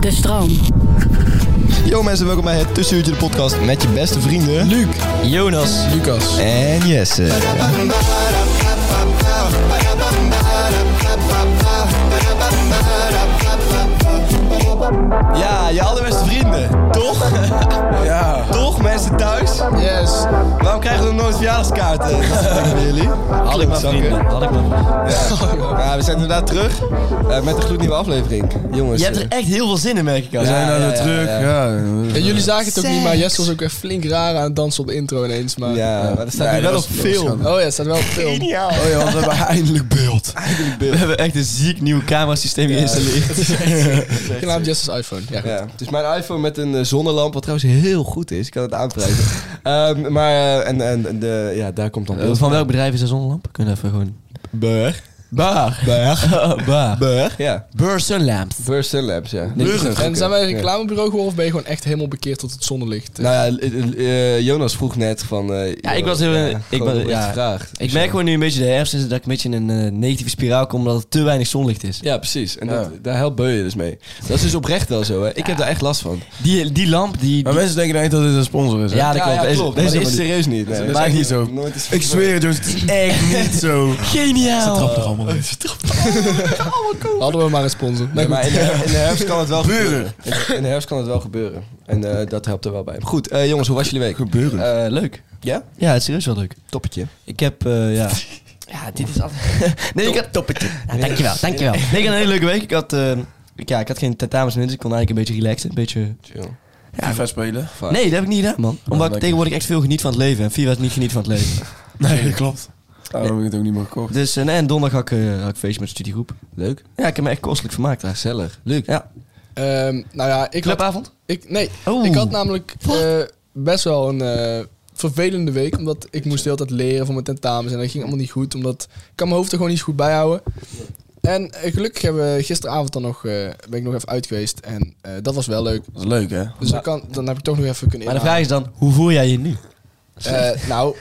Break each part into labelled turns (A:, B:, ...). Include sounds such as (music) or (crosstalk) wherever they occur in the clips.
A: De stroom.
B: Yo mensen, welkom bij het Tussenuurtje de podcast met je beste vrienden... Luc, Jonas, Lucas en Jesse. Ja, je allerbeste vrienden, (laughs) toch?
C: Ja.
B: toch mensen thuis?
C: Yes.
B: Waarom krijgen we nog nooit verjaardagskaarten? Dat is lekker voor jullie. Had ik maar vrienden, (laughs) had ik maar. Ja. Ja, we zijn inderdaad terug eh, met een gloednieuwe aflevering. Jongens.
D: Je hebt
B: eh,
D: er echt heel veel zin in, merk ik al.
C: We zijn
B: ja,
C: nou weer
B: ja,
C: terug.
B: ja.
C: Ja,
E: Ja, jullie zagen het ook niet, maar Jess was ook echt flink raar aan het dansen op de intro ineens. Maar...
B: Ja, maar er staat
C: Nee,
B: nu
C: dat
B: wel op
C: was- dat was
B: film.
C: gewoon-
E: Oh ja, staat wel op film.
C: Oh ja, want we hebben eindelijk
B: (laughs)
C: beeld.
D: We hebben echt een ziek nieuw camerasysteem
E: (laughs)
D: geïnstalleerd.
E: Genaamd Jess's iPhone. Ja, goed.
B: Ja, het is mijn iPhone met een eh, zonnelamp, wat trouwens heel goed is. Ik kan het aanprijzen.
C: (laughs)
B: Ehm, maar, eh, en, en en de, ja, daar komt dan
D: Eh,
B: beeld
D: Van welk bedrijf is de zonnelamp? Kunnen we even gewoon...
B: Beur.
D: Baar.
C: (laughs)
B: Beur.
D: Baar.
B: Beur, ja.
D: Beur Sunlamp.
B: Beur Sunlabs, ja.
E: En zijn wij een
B: klaar?
E: reclamebureau geworden of ben je gewoon echt helemaal bekeerd tot het zonnelicht?
B: Nou ja, eh, eh, eh, Jonas vroeg net van... eh,
D: Ja, ik was heel- ik
B: gewoon
D: was-
B: iets
D: ja.
B: gevraagd.
D: Ik merk gewoon nu een beetje de herfst is dat ik een beetje in een eh, negatieve spiraal kom omdat er te weinig zonlicht is.
B: Ja, precies. En dat, daar helpt Beur je dus mee. Dat is dus oprecht wel zo, hè. Ik heb daar echt last van.
D: Die, die lamp, die...
C: Maar
D: die-
C: mensen denken dan echt dat dit een sponsor is. hè?
D: ja, dat
B: Ja,
D: klopt.
B: ja,
D: Deze-
B: klopt.
D: Deze
B: maar dat is serieus niet. Nee.
C: dat is echt niet zo.
B: Nooit is-
C: Ik zweer het, jongens, het is
D: (laughs)
C: echt niet zo.
D: Geniaal.
C: er allemaal in.
E: Hadden we maar een sponsor.
B: Nee, maar in de,
C: (laughs)
B: in de herfst kan het wel
C: Gebeuren.
B: gebeuren. In de herfst kan het wel gebeuren. En eh, dat helpt er wel bij. Goed, eh, jongens, hoe was jullie week?
C: Gebeuren.
B: Eh,
D: Eh, leuk.
B: ja?
D: Ja, het is serieus wel leuk.
B: Toppetje.
D: Ik heb, eh,
C: (laughs)
D: ja... Ja, dit is altijd... (laughs) Nee, ik had... Toppetje. dankjewel, dankjewel. Nee, ik had een hele leuke week. Ik had, eh, ik- ja, ik had geen tentamens en niks. Ik kon eigenlijk een beetje relaxen. Een beetje...
B: Chill.
C: FIFA spelen.
B: Ah.
D: Nee, dat heb ik niet gedaan, man. Omdat ik
C: lekker.
D: tegenwoordig echt veel geniet van het leven. En FIFA is niet geniet van het leven. (laughs)
C: Nee, dat klopt. Daarom heb ik Oh, het ook niet meer gekocht.
D: Dus eh, nee, en donderdag had ik, eh, had ik feestje met de studiegroep.
B: Leuk.
D: Ja, ik heb me echt kostelijk vermaakt daar.
B: Gezellig. Leuk.
D: Ja.
E: Ehm, nou ja, ik had,
D: Clubavond?
E: ik, nee,
D: Oh.
E: ik had namelijk eh, best wel een eh, vervelende week. Omdat ik moest de hele tijd leren voor mijn tentamens. En dat ging allemaal niet goed. Omdat ik kan mijn hoofd er gewoon niet zo goed bijhouden. En eh, gelukkig hebben we gisteravond dan nog, eh, ben ik nog even uit geweest. En eh, dat was wel leuk.
C: Dat is leuk, hè?
E: Dus dan, kan, dan heb ik toch nog even kunnen
D: Maar de
E: inhalen.
D: vraag is dan, hoe voel jij je nu?
E: Eh, nou,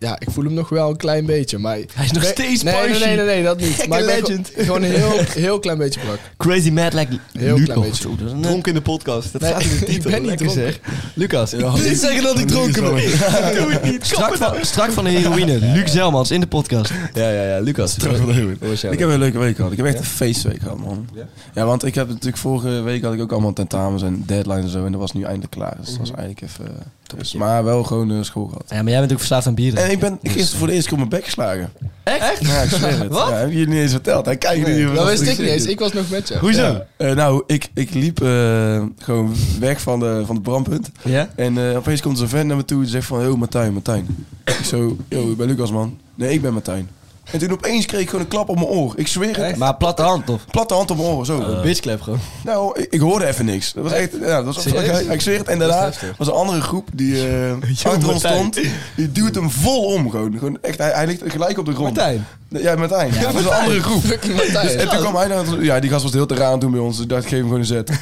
E: ja, ik voel hem nog wel een klein beetje, maar...
D: Hij is nog
E: Nee,
D: steeds
E: nee, nee,
D: puishy.
E: nee, nee, nee, dat niet.
D: (laughs) Gekke
E: maar ik ben
D: legend.
E: Gewoon, gewoon een heel, heel klein beetje
D: (laughs)
E: brak.
D: Crazy mad like
E: Heel
D: Lucas.
E: klein beetje.
D: Zo, dat is een-
B: Dronken in de podcast. Dat
E: Nee,
B: staat in de
E: (laughs) ik
B: titel.
E: ben niet
B: Lekker
E: dronken.
B: zeg. Lucas.
C: Niet zeggen dat ik dronken ben.
B: (laughs)
D: eh,
C: (laughs)
D: Strak van, strak van de (laughs) heroïne. Luc Zelmans in de podcast.
B: Ja, ja, ja. Lucas. Hoe was jouw
C: Ik heb een leuke week gehad. Ik heb echt een feestweek gehad, man.
B: Ja?
C: Ja, want ik heb natuurlijk vorige week had ik ook allemaal tentamens en deadlines en zo. En dat was nu eindelijk klaar. Dus dat was
B: Mhm.
C: eigenlijk even... eh, dus, maar wel gewoon eh, school gehad.
D: Ja, maar jij bent ook verslaafd aan bieren.
C: En ik ben gisteren voor de eerste keer op mijn bek geslagen.
D: Eh, Echt?
C: Ja, ik zweer het.
D: Wat?
C: Ja, heb je jullie niet eens verteld? Hij kijkt nu
E: Dat wist ik niet eens, ik was nog met jou.
D: Hoezo?
C: Ja. Eh, nou, ik, ik liep eh, gewoon weg van de, van de brandpunt.
D: Ja?
C: En eh, opeens komt zo'n vent naar me toe en zegt van... Yo, Martijn, Martijn. ik zo, yo, ik ben Lucas, man. Nee, ik ben Martijn. En toen opeens kreeg ik gewoon een klap op mijn oor. Ik zweer het.
D: Maar platte hand, of?
C: Platte hand op mijn oor,
D: Eh.
C: zo.
D: Oh.
B: Een bitchclap gewoon.
C: Nou, ik, ik hoorde even niks. Dat was echt, ja, dat was
B: Serieus?
C: ik zweer het. En
B: Dat is
C: daarna
B: heftig.
C: was een andere groep die eh achter ons
B: Martijn.
C: stond. Die duwt hem vol om gewoon. gewoon echt, hij, hij ligt gelijk op de grond.
B: Martijn.
C: Ja, Martijn. (laughs) dat was een andere groep.
E: (laughs)
C: Dus,
E: Fucking Matthijs.
D: (laughs)
C: En toen kwam hij naar Ja, die gast was heel te raar aan toen bij ons. Dus ik dacht, geef hem gewoon een zet.
D: (laughs)
C: En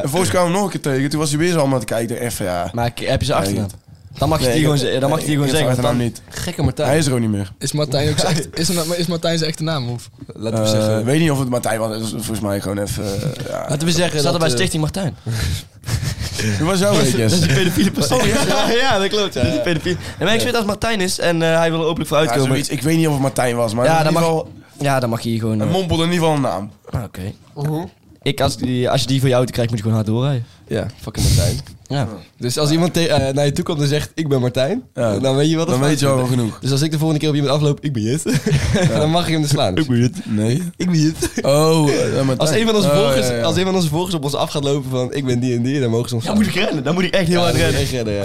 C: vervolgens kwamen we hem nog een keer tegen. Toen was hij weer zo allemaal aan het kijken. Even, ja.
D: Maar ik- heb je ze achternaam? Dan mag je
C: Nee,
D: die
C: ik-
D: gewoon, ze- dan mag je die
C: ik-
D: gewoon
C: ik heb
D: zeggen.
C: zijn
D: want
C: naam
D: dan-
C: niet.
B: Gekke Martijn.
C: Hij is er ook niet meer.
E: Is Martijn, ook zijn, echte- is, Ma- is Martijn zijn echte naam? Of?
B: Laten we
C: Eh,
B: zeggen...
C: weet niet of het Martijn was. Dat is volgens mij gewoon even... eh, ja.
B: Laten we zeggen
D: Zaten bij
B: dat, eh,
D: Stichting Martijn.
C: Hoe was jouw week,
D: (laughs) Dat is
C: Jesse?
D: die pedofiele persoon. ja, ja, dat klopt. Ja. Dat is die pedofiele. En maar ik weet dat het Martijn is en eh, hij wil er openlijk voor
C: Ja,
D: uitkomen. Ja,
C: zoiets. Ik weet niet of het Martijn was, maar ja, in
D: dan
C: ieder
D: mag,
C: geval...
D: ja, dan mag je hier gewoon...
C: Hij
D: eh,
C: mompelde in ieder geval een naam.
D: ah, Oké. ik, als, die, als je die voor je auto krijgt, moet je gewoon hard doorrijden.
B: Ja, fucking Martijn.
D: Ja.
B: Dus als iemand te- eh, naar je toe komt en zegt, ik ben Martijn,
C: Ja.
B: dan weet je wat het
C: Dan weet je al wel
B: is.
C: genoeg.
B: Dus als ik de volgende keer op iemand afloop, ik ben het. (laughs) dan mag ik hem dus slaan. Ik ben het.
C: Nee.
B: Ik ben het.
C: Oh, eh, Martijn.
B: Als een, van onze
C: Oh,
B: volgers,
C: ja, ja.
B: als een van onze volgers op ons af gaat lopen van ik ben die en die, dan mogen ze ons
D: Dan moet ik rennen, dan moet ik echt heel hard rennen.
B: Ja, dat moet je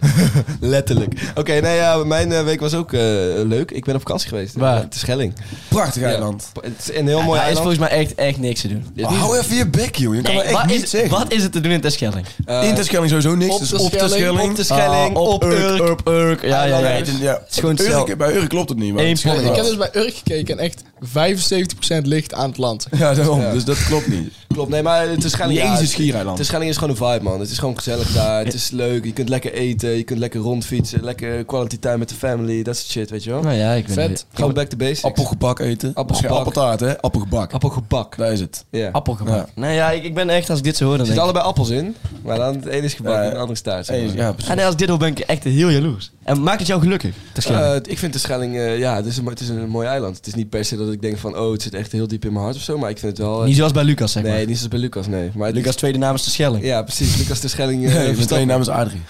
B: echt redden, ja. (laughs) Letterlijk. Oké, nou ja, mijn eh, week was ook eh, leuk. Ik ben op vakantie geweest.
D: Waar?
B: Het is Schelling.
C: Prachtig eiland.
B: Het is een heel
D: Ja,
B: mooi
D: daar is
B: eiland.
D: volgens mij echt, echt niks te doen.
B: Ja,
C: Oh, hou even je bek, joh. Je kan er echt
D: wat,
C: niet
D: is,
C: zeggen.
D: wat is het te doen in Terschelling?
B: Eh,
C: Interschelling sowieso niks.
E: op
C: dus
E: de
C: op de
E: Schelling,
C: Schelling.
B: op de Schelling,
D: Ah,
B: op Urk. Ah,
D: Urk, Urk. Ja, ja, ja.
C: Ja,
D: Het
B: dus-
D: is-
C: ja.
D: is gewoon hetzelfde.
C: Urk- Bij Urk klopt het niet, man.
D: Eén
C: Schelling-
E: Ik
D: plek.
E: heb dus bij Urk gekeken en echt 75% ligt aan het
B: (laughs)
E: land.
C: Ja, daarom. Dus dat klopt niet.
B: Klopt, nee, maar het is Schelling.
C: Jezus,
B: ja, het-
C: Schiereiland.
B: Het is Schelling is gewoon een vibe, man. Het is gewoon gezellig daar. Het is leuk. Je kunt lekker eten. Je kunt lekker rondfietsen. Lekker quality time met de family. Dat soort shit, weet je wel.
D: Nou ja, ik weet
E: Vet.
D: niet.
B: Gewoon back to basics.
C: Appelgebak eten.
B: Appelgebak.
C: Appeltaart, hè? Appelgebak.
B: Appelgebak.
C: Daar is het.
B: Ja.
D: Appelgebak.
C: Ja.
D: Nou ja, ik, ik ben echt, als ik dit zo hoor, dan
B: Er
D: denk
B: zitten
D: ik...
B: allebei appels in, maar dan het ene is gebakken
C: Ja.
B: en het andere is taart. zeg
C: Hey,
B: maar.
C: ja, precies.
D: Ah, nee, als ik dit hoor, ben ik echt heel jaloers. En maakt het jou gelukkig, Terschelling?
B: Eh, ik vind de Schelling, eh, ja, het is, een, het is een mooi eiland. Het is niet per se dat ik denk van, oh, het zit echt heel diep in mijn hart of zo, maar ik vind het wel... eh,
D: niet zoals bij Lucas, zeg
B: nee,
D: maar.
B: niet zoals bij Lucas, nee. Maar het-
D: Lucas' tweede naam is Terschelling.
B: Ja, precies. Lucas de Schelling.
C: (laughs)
B: eh,
C: Hey,
B: Verstappen.
C: meteen namens Adrie.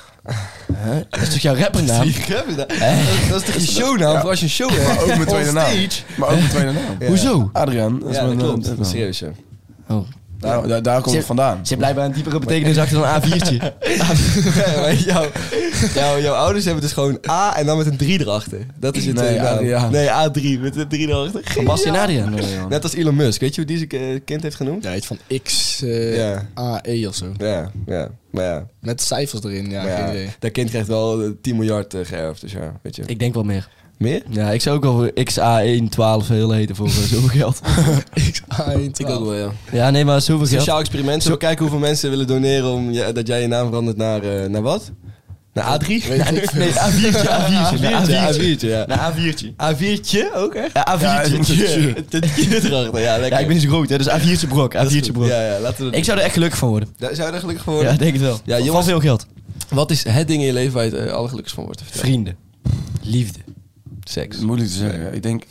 D: Dat (laughs) is toch jouw rappernaam? Eh.
B: Die grappen daar.
D: (laughs)
B: Dat is toch je shownaam voor als je een show hebt?
C: Maar ook mijn tweede
B: On
C: naam.
B: stage.
C: Maar ook mijn tweede naam.
D: Hoezo?
C: Adriaan. Dat is
B: Ja,
C: mijn
B: dat klopt.
C: naam.
B: Dat is serieus, ja.
D: Oh.
C: Daar, daar, daar komt
D: Zit-
C: het vandaan.
D: Zit blijkbaar een diepere betekenis achter dan een (laughs) A4'tje.
B: Ja, maar jouw- jouw- Jouw ouders hebben dus gewoon A en dan met een 3 erachter. Dat is het
C: Nee,
B: tweede naam.
C: Adriaan.
B: Nee, A3 met een 3 erachter.
D: Van Bastian
B: Geniaal.
D: Adriaan.
B: Net als Elon Musk. Weet je hoe die zijn eh, kind heeft genoemd?
E: Ja, iets van X, eh,
B: Ja.
E: AE of zo.
B: Ja, ja. Maar ja,
E: Met cijfers erin, ja,
B: maar
E: geen
B: ja,
E: idee. (laughs)
B: dat kind krijgt wel eh, 10 miljard eh, geërfd. Dus ja, weet je.
D: Ik denk wel meer.
B: Meer?
D: Ja, ik zou ook wel voor XA112 heel heten voor eh, zoveel (laughs) geld.
E: AE
B: Ik ook wel, ja.
D: Ja, nee, maar zoveel geld.
B: Sociaal experiment. Zullen we kijken hoeveel mensen willen doneren om ja, dat jij je naam verandert naar, eh, naar wat? Naar A3?
D: (laughs) Nee, A4'tje, (laughs) A4'tje.
B: Ja,
D: A4'tje.
B: A4'tje, ja.
D: A4'tje.
B: A4'tje ook echt?
D: Ja, A4'tje. (laughs)
B: A4'tje. Dat je erachter, ja, lekker.
D: Ja, ik ben niet zo groot, hè, dus A4'tje brok. A4'tje brok.
B: Ja, ja, laten we dat
D: Ik zou er echt gelukkig van worden.
B: Daar Zou je er gelukkig voor
D: Ja,
B: worden?
D: ik denk het wel.
B: Ja,
D: Ja, Van
B: jongens-
D: veel geld.
B: Wat is het ding in je leven waar je het eh, allergelukkigst van wordt? Vertel.
D: Vrienden. Liefde.
B: Seks.
C: Moeilijk te zeggen. Ik denk...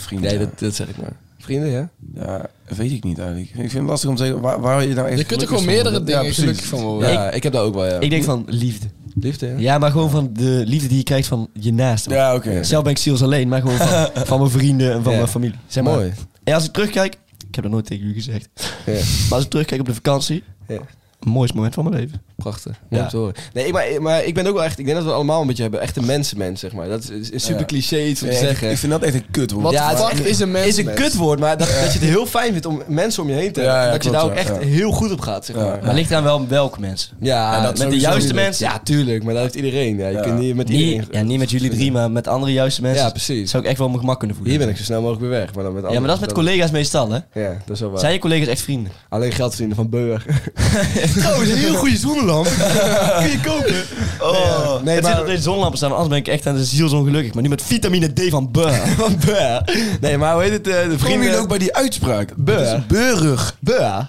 C: Vrienden.
B: Nee, dat, dat zeg ik maar. Vrienden, ja?
C: Ja, weet ik niet eigenlijk. Ik vind het lastig om te zeggen waar, waar je nou echt
E: Je kunt er
C: gelukkig
E: gewoon
C: van
E: meerdere
C: wordt.
E: dingen
C: precies.
E: gelukkig van worden.
B: Ja, ik, heb dat ook wel, ja.
D: Ik denk van liefde.
B: Liefde, ja.
D: Ja, maar gewoon van de liefde die je krijgt van je naasten.
C: Ja, oké.
D: Zelf ben ik ziels alleen, maar gewoon
B: (laughs)
D: van, van mijn vrienden en van
B: Ja.
D: mijn familie. Zeg maar.
B: Mooi.
D: En als ik terugkijk, ik heb dat nooit tegen jullie gezegd,
B: Ja.
D: maar als ik terugkijk op de vakantie,
B: Ja.
D: het mooiste moment van mijn leven.
B: Prachtig.
D: Ja.
B: Mooi om te horen. Nee, ik- maar, maar ik ben ook wel echt... Ik denk dat we allemaal een beetje hebben. Echt een mensenmens, zeg maar. Dat is- is een super cliché iets om te
C: Ja, ik-
B: zeggen.
C: Ik vind dat echt een kut
E: Wat
C: woord.
B: Ja,
E: de
B: het
E: fuck is een mens?
B: is een kutwoord, maar dat, dat je het heel fijn vindt om mensen om je heen te hebben.
C: Ja, ja,
B: dat je
C: klopt,
B: daar ook
C: ja,
B: echt
C: ja.
B: heel goed op gaat, zeg
C: Ja.
B: maar.
D: Maar ligt aan wel welke mensen.
B: Ja,
C: dat
B: met de
C: sowieso
B: juiste
C: natuurlijk.
B: mensen. Ja, tuurlijk, maar dat heeft iedereen. Ja, je
C: Ja.
B: kunt niet met iedereen...
D: Niet, ja, niet met jullie drie, maar met andere juiste mensen.
B: Ja, precies.
D: Zou ik echt wel op mijn gemak kunnen voelen.
B: Hier ben ik zo snel mogelijk weer weg. Maar dan met
D: Ja, maar dat is
B: anderen.
D: met collega's meestal, hè?
B: Ja, dat is wel waar.
D: Zijn je collega's echt vrienden?
B: Alleen geld verdienen van Beur. Trouwens, Oh, een heel goede (laughs) zonnelamp. Kun je kopen.
D: Oh, nee, het
B: maar-
D: zit op deze zonlampen staan, anders ben ik echt aan de zielsongelukkig. Maar nu met vitamine D van Beur.
B: (laughs) Van Beur. (laughs) Nee, maar hoe heet het? eh, de
C: Kom
B: vrienden...
C: je ook bij die uitspraak?
B: Beur.
C: Dat is Beurig.
B: Beur.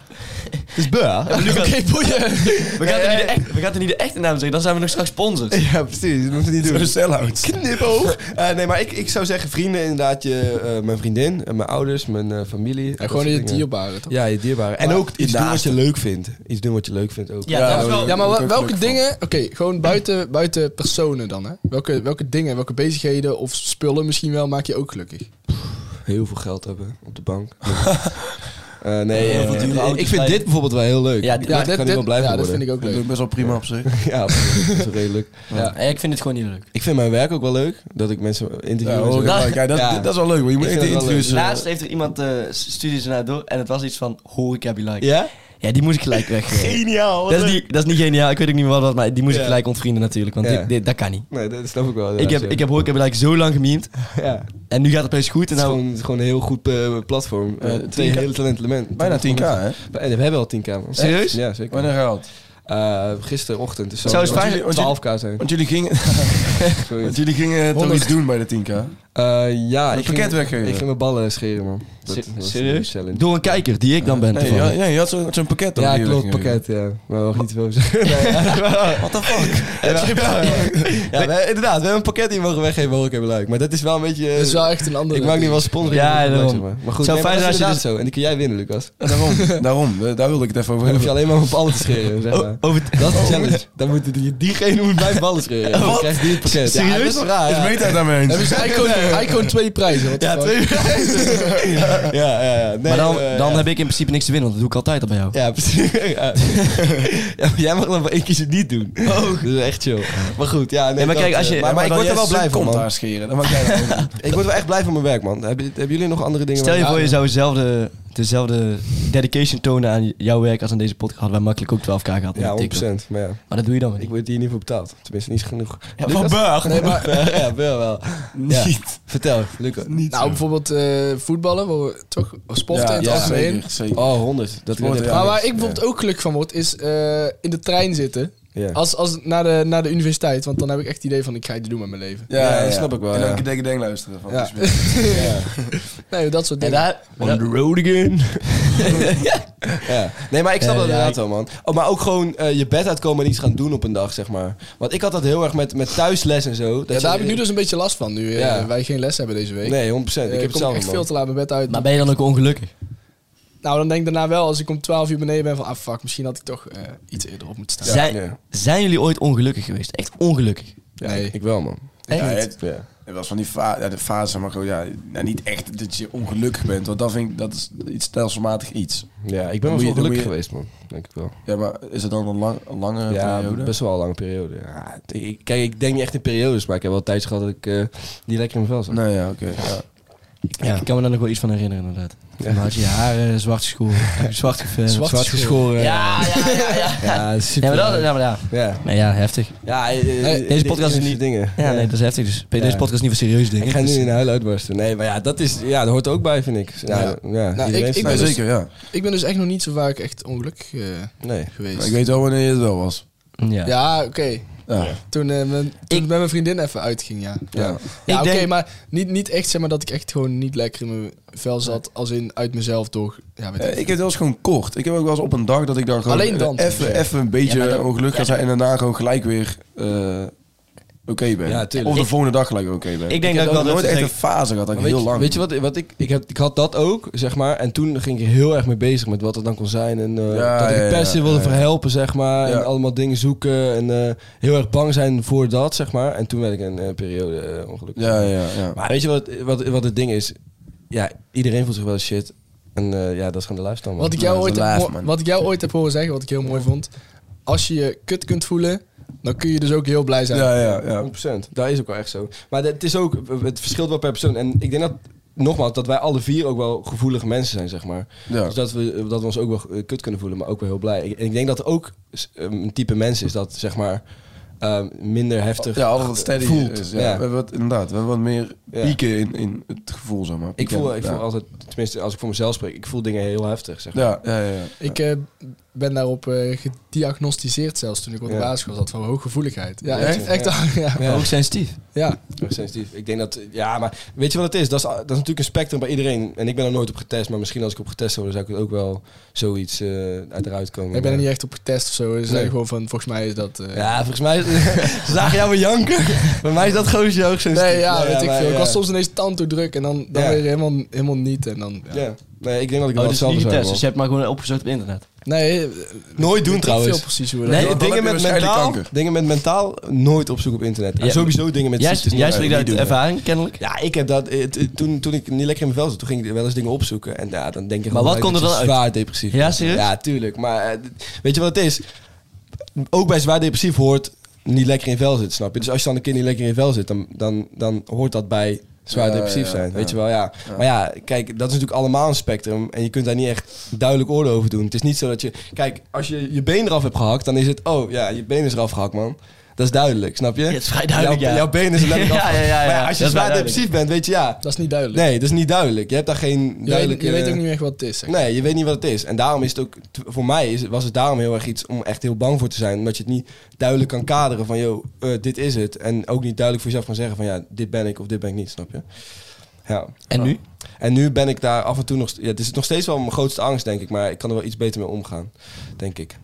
B: Het is Beur.
D: Lucas, We gaan, er
B: Ja,
D: niet
B: ja.
D: de echt, we gaan er niet de echte naam zeggen, dan zijn we nog straks sponsors.
B: (laughs) Ja, precies. Dat moeten we niet doen.
C: Een sell-out.
B: Knipoog. (laughs) Eh, nee, maar ik, ik zou zeggen vrienden inderdaad. Je, eh, mijn vriendin, eh, mijn ouders, mijn eh, familie.
E: Ja,
B: dat
E: gewoon
B: soort
E: je
B: dingen.
E: dierbaren, toch?
B: Ja, je dierbaren. En
E: Maar-
B: ook iets
C: Je
B: doen wat
C: naasten.
B: je leuk vindt. Iets doen wat je leuk vindt ook.
D: Ja,
C: Ja,
D: dat is wel...
E: Ja,
C: Daar
E: maar wel-
C: word ik ook
E: welke
C: gelukkig
E: dingen... Oké, gewoon buiten, buiten personen dan, hè? Welke, welke dingen, welke bezigheden of spullen misschien wel maak je ook gelukkig?
B: Heel veel geld hebben op de
D: (laughs)
B: bank. Eh, nee,
D: Heel
B: eh,
D: veel dure auto's
B: ik vind
D: rijden.
B: dit bijvoorbeeld wel heel leuk.
D: Ja,
B: ik
D: dit-
B: kan
E: dit-
B: hier
E: dit-
B: wel blij
E: ja,
B: van
E: dat
B: worden.
E: vind ik ook
C: Dat is
E: leuk.
C: best wel prima op zich.
B: (laughs)
D: (laughs)
B: Ja, absoluut. dat is redelijk.
D: Ja, ik vind het gewoon niet leuk.
B: Ik vind mijn werk ook wel leuk. Dat ik mensen
C: Ja,
B: interview. en zo.
C: hoor, kijk, kijk, dat,
B: Ja.
C: dat is wel leuk, want je moet
B: Ik
C: echt de
B: vind dat wel
C: interviews... eh,
D: Laatst heeft er iemand eh, s- studies naar door en het was iets van horeca be like.
B: ja?
D: Ja, die moest ik gelijk weg. eh.
B: Geniaal.
D: Dat is, niet, dat is niet geniaal, ik weet ook niet meer wat, was, maar die moest
B: Ja.
D: ik gelijk ontvrienden natuurlijk, want
B: Ja.
D: dit, dit- dat kan niet.
B: Nee, dat snap ik wel.
D: ik, heb, ik heb horeca be like zo lang gemiemd
B: Ja. Het
D: en nu gaat het opeens goed en
B: is
D: nou...
B: gewoon, het is gewoon een heel goed eh, platform. Eh,
C: Eh,
B: twee
C: 10K.
B: hele talenten mensen.
C: Bijna 10k, hè?
B: En we hebben al 10k. man.
D: Serieus?
B: Ja, zeker.
C: Wanneer gehaald?
B: Eh, gisterochtend. Dus
D: Zou het
B: zou
D: fijn-
B: het
C: want jullie-
B: 12k zijn. (laughs)
C: Want jullie gingen... Want jullie gingen toch
E: Honderd.
C: iets doen bij de 10k?
B: Eh, ja,
C: Een
B: ik ging,
C: pakket weggeven.
B: ik ging mijn ballen scheren, man. Dat
D: Se-
B: was
D: serieus?
B: een challenge.
D: Door een kijker, die ik dan ben.
C: Nee, ja,
D: toevallig.
C: ja, je had zo- zo'n pakket dan.
B: Ja,
C: die je
B: klopt,
C: weggegeven.
B: pakket, ja. Maar wel niet
D: (laughs)
B: boos. What the fuck? Ja, ja, ja, wij- inderdaad, we hebben een pakket die we mogen weggeven, hoor ik even leuk. Maar dat is wel een beetje... eh,
E: Dat is wel echt een andere...
B: ik maak nu wel sponsoring.
D: Ja,
B: van het
D: daarom.
B: product, zeg maar. Maar goed,
D: Zou
B: nee, maar
D: fijn
B: dat
D: zijn
B: is
D: als je dus-
B: inderdaad zo. En die kun jij winnen,
D: (laughs)
B: Lucas. Dan
C: Daarom, (laughs) daarom. eh, Daar wilde ik het even over
B: hoef je
C: hebben.
B: alleen maar mijn ballen te scheren, zeg maar.
D: O- Oh, Over t-
B: Dat is de challenge. Dan moet die, diegene moet mijn
D: (laughs)
B: ballen scheren. Dan krijgt die het pakket. Ja, dat is wel raar, ja.
C: Is Meta het daarmee eens? (laughs)
E: Hebben ze Icon,
D: (laughs)
E: Icon twee prijzen? Wat
B: Ja, twee prijzen. ja, ja, ja. Nee,
D: maar dan,
B: eh,
D: dan
B: ja.
D: heb ik in principe niks te winnen, want dat doe ik altijd al bij jou.
B: Ja, precies. (laughs) Ja. Ja, maar jij mag dan maar één keer ze niet doen. Dat is echt chill. Maar goed, ja. Nee,
D: Oh. maar kijk,
B: dat,
D: als je-
B: eh,
D: maar-
B: maar, maar ik word er wel blij van,
C: Komt
B: man.
C: daar scheren. Dan mag jij dat
B: (laughs)
C: ook.
B: Ik word wel echt blij van mijn werk, man. Hebben, hebben jullie nog andere dingen?
D: Stel je
B: waar-
D: voor, je zou dezelfde, dezelfde dedication tonen aan jouw werk als aan deze podcast. Hadden wij makkelijk ook 12k gehad.
B: Ja,
D: met TikTok.
B: 100%. Maar ja,
D: Maar dat doe je dan weer
B: ik
D: niet.
B: word hier niet voor betaald. Tenminste, niet genoeg.
D: Ja,
B: Lucas?
D: Burg!
B: Nee, maar... (laughs) ja, wel wel. Ja. Vertel, Luca.
E: Nou, bijvoorbeeld eh, voetballen, waar we toch sporten in het
C: ja,
E: algemeen.
C: zeker, zeker.
B: Oh, 100. Dat
C: Wordt,
B: wordt
C: ja.
E: Maar waar ik bijvoorbeeld ook gelukkig van word, is eh, in de trein zitten.
B: Ja.
E: Als, als naar, de, naar de universiteit, want dan heb ik echt het idee van ik ga iets doen met mijn leven.
B: Ja, dat snap ik wel,
C: En dan
B: ja.
C: een denk luisteren. Van,
E: Ja.
C: dus weer-
E: Nee, dat soort dingen.
B: daar...
D: On the road again.
B: (laughs) Ja. Nee, maar ik snap
D: Eh,
B: dat
D: ja,
B: inderdaad
D: ik-
B: wel, man. Oh, maar ook gewoon eh, je bed uitkomen en iets gaan doen op een dag, zeg maar. Want ik had dat heel erg met, met thuisles en zo. Dat
E: Ja,
B: je-
E: daar heb ik nu dus een beetje last van, nu eh,
B: Ja.
E: wij geen les hebben deze week.
B: Nee, 100%.
E: Eh,
B: ik heb het
E: kom
B: zelf,
E: echt
B: man.
E: veel te laat mijn bed uit.
D: Maar ben je dan ook ongelukkig?
E: Nou, dan denk ik daarna wel, als ik om 12 uur beneden ben, van ah fuck, misschien had ik toch eh, iets eerder op moeten staan.
D: zijn,
B: ja.
D: zijn jullie ooit ongelukkig geweest? Echt ongelukkig?
B: Ja,
E: Nee.
B: ik- ik wel, man.
C: Ja,
D: Echt?
C: het,
B: Ja.
C: het was van die fa ja, de fase, maar gewoon, ja, nou, niet echt dat je ongelukkig bent. Want dat, vind ik, dat is iets stelselmatig iets. Dan
B: Ja, ik ben wel
C: moet je-
B: gelukkig
C: dan moet je-
B: geweest, man. Denk ik wel.
C: Ja, maar is het dan een, lang, een lange
B: ja,
C: periode?
B: best wel een lange periode. Ja, ik- ik, kijk, ik denk niet echt in periodes, maar ik heb wel tijds gehad dat ik eh, niet lekker in mijn vel zat.
D: Nou,
C: Nee, ja, oké. ja.
D: Ja. Ik kan me daar nog wel iets van herinneren, inderdaad. Dan had je je haren zwart geschoren.
B: (laughs)
D: zwart, geverfd,
E: Zwart
D: zwart geschoren. Ja, ja, ja. ja.
B: Ja,
D: Ja,
B: super.
D: maar dat, ja, maar ja.
B: ja.
D: Nee, ja, heftig.
B: Ja, eh, eh,
D: Nee, deze
B: dit-
D: podcast is
B: dit
D: niet-
B: dingen.
D: Ja, nee, dat is heftig. Dus deze
B: Ja.
D: podcast is niet voor serieus dingen.
B: Ik ga
D: Dus-
B: nu in huil uitbarsten. Nee, maar ja, dat is... Ja, dat hoort er ook bij, vind ik. Ja,
E: Ja.
B: ja.
E: Nou,
B: iedereen
E: ik- ik
B: snapt
C: Nee,
E: ben
B: het.
C: zeker, ja.
E: Ik ben dus echt nog niet zo vaak echt ongelukkig eh,
B: Nee.
E: geweest.
C: Maar ik weet wel wanneer het wel was.
D: Ja.
E: Ja, oké.
C: Ja.
E: Toen, eh, mijn, toen ik met mijn vriendin even uitging, ja.
C: Ja.
E: Ja,
D: Ik
E: oké,
D: denk-
E: maar niet, niet echt zeg maar dat ik echt gewoon niet lekker in mijn vel zat. Als in uit mezelf door. Ja, weet
C: Eh,
E: ik
C: ik heb
E: veel.
C: het wel eens gewoon kort. Ik heb ook wel eens op een dag dat ik dan gewoon
E: Alleen dan.
C: even, even een beetje
E: Ja, maar dat-
C: ongelukkig ga zijn en daarna gewoon gelijk weer eh, oké ben.
B: Ja, tuurlijk.
C: of de
D: Ik-
C: volgende dag gelijk oké ben.
D: Ik denk dat ik
C: heb
D: wel
C: nooit
D: dat-
C: echt een fase gehad dat ik
B: Maar weet,
C: heel
B: je-
C: lang.
B: Weet je wat, wat ik, ik, heb, ik had dat ook, zeg maar. En toen ging ik er heel erg mee bezig met wat het dan kon zijn. En eh,
C: Ja,
B: dat ik
C: ja,
B: het beste
C: ja,
B: wilde
C: ja.
B: verhelpen, zeg maar.
C: Ja.
B: En allemaal dingen zoeken. En eh, heel erg bang zijn voor dat, zeg maar. En toen werd ik een eh, periode eh, ongelukkig.
C: Ja, ja, ja.
B: Maar weet je wat, wat, wat het ding is? Ja, iedereen voelt zich wel shit. En eh, ja, dat is gewoon de lifestyle, man.
E: Wat ik, jou
C: Ja,
E: ooit
C: dat is
E: heb,
C: laag,
E: ho-
C: man.
E: wat ik jou ooit heb horen zeggen, wat ik heel mooi vond. Als je je kut kunt voelen, dan kun je dus ook heel blij zijn.
C: ja, ja, ja.
B: 100%. Dat is ook wel echt zo. Maar het is ook, het verschilt wel per persoon. En ik denk dat, nogmaals, dat wij alle vier ook wel gevoelige mensen zijn, zeg maar.
C: Ja.
B: Dus dat we, dat we ons ook wel eh, kut kunnen voelen, maar ook wel heel blij. Ik, en ik denk dat er ook s- ehm, een type mens is dat, zeg maar, eh, minder heftig
C: Ja, altijd wat steady
B: voelt.
C: is. Ja.
B: ja.
C: We hebben wat, inderdaad, we hebben wat meer
B: Ja.
C: pieken in, in het gevoel, zeg maar.
B: Ik, voel, ik
C: Ja.
B: voel altijd, tenminste als ik voor mezelf spreek, ik voel dingen heel heftig, zeg maar.
C: Ja, ja, ja. ja.
E: Ik eh, ben daarop eh, gediagnosticeerd zelfs toen ik op de
B: Ja.
E: basisschool zat van hooggevoeligheid. Ja,
B: Ja,
E: echt?
B: echt?
E: echt ja. Ja.
D: Ook sensitief.
E: Ja.
B: Heel sensitief. Ik denk dat, ja, maar weet je wat het is? Dat, is? dat is natuurlijk een spectrum bij iedereen. En ik ben er nooit op getest, maar misschien als ik op getest zou worden, zou ik het ook wel zoiets eh uit eruit komen.
E: Ik ben er
B: Maar-
E: niet echt op getest of zo. Ze zeggen
B: Nee.
E: gewoon van, volgens mij is dat... eh,
B: Ja, volgens mij (laughs) zagen jou weer janken. Bij mij is dat goosje hoog sensitief.
E: Nee, ja, weet ik
B: maar eh,
E: veel. Ik
B: ja.
E: was soms ineens tand druk en dan, dan
B: Ja.
E: weer helemaal, helemaal niet. En dan, ja.
B: Ja. Nee, ik denk dat ik
D: Oh,
B: wel
D: dus niet
B: hetzelfde
D: getest.
B: zou hebben.
D: Dus je hebt maar gewoon opgezocht op internet.
E: Nee, eh,
B: Nooit doen
E: weet ik
B: trouwens.
E: veel precies hoe dat
D: Nee,
B: Nee,
C: dan heb je
B: dingen, met
C: waarschijnlijk
B: mentaal,
C: kanker.
B: dingen met mentaal nooit op zoek op internet. En
D: Ja.
B: sowieso dingen met
D: Jij,
B: ziektes
D: jij
B: niet-
D: spreekt
B: niet
D: uit
B: doen.
D: ervaring, kennelijk.
B: Ja, ik heb dat. eh, t- toen, toen ik niet lekker in mijn vel zat, toen ging ik wel eens dingen opzoeken. En ja, dan denk je
D: Maar
B: gewoon
D: wat kon
B: dat
D: er
B: je
D: dan uit?
B: Zwaar depressief.
D: Ja,
B: bent.
D: serieus?
B: Ja, tuurlijk. Maar eh, d- weet je wat het is? Ook bij zwaar depressief hoort niet lekker in je vel zitten, snap je? Dus als je dan een keer niet lekker in je vel zit, dan, dan, dan hoort dat bij zwaar
C: Ja,
B: depressief
C: ja,
B: zijn.
C: ja.
B: Weet je wel, ja. Maar ja, kijk, dat is natuurlijk allemaal een spectrum. En je kunt daar niet echt duidelijk oordeel over doen. Het is niet zo dat je... Kijk, als je je been eraf hebt gehakt, dan is het... Oh, ja, je been is eraf gehakt, man. Dat Dat is duidelijk, snap je?
D: Ja, het is vrij duidelijk,
B: jouw,
D: ja.
B: jouw been is
D: (laughs)
B: letterlijk
D: Ja,
B: af.
D: ja, ja, ja.
B: Maar als je
D: Dat is
B: zwaar
D: vrij
B: depressief bent, weet je, ja.
E: Dat is niet duidelijk.
B: Nee, eh, dat is niet duidelijk. Je hebt daar geen
E: je, weet,
B: duidelijke...
E: je weet ook niet meer echt wat het is. zeg.
B: Nee, je weet niet wat het is. En daarom is het ook, t- voor mij is, was het daarom heel erg iets om echt heel bang voor te zijn. Omdat je het niet duidelijk kan kaderen van, joh, eh, dit is het. En ook niet duidelijk voor jezelf kan zeggen van, ja, dit ben ik of dit ben ik niet, snap je? Ja.
D: En nu?
B: En nu ben ik daar af en toe nog... st- Ja, het is nog steeds wel mijn grootste angst, denk ik. Maar ik kan er wel iets beter mee omgaan, denk ik.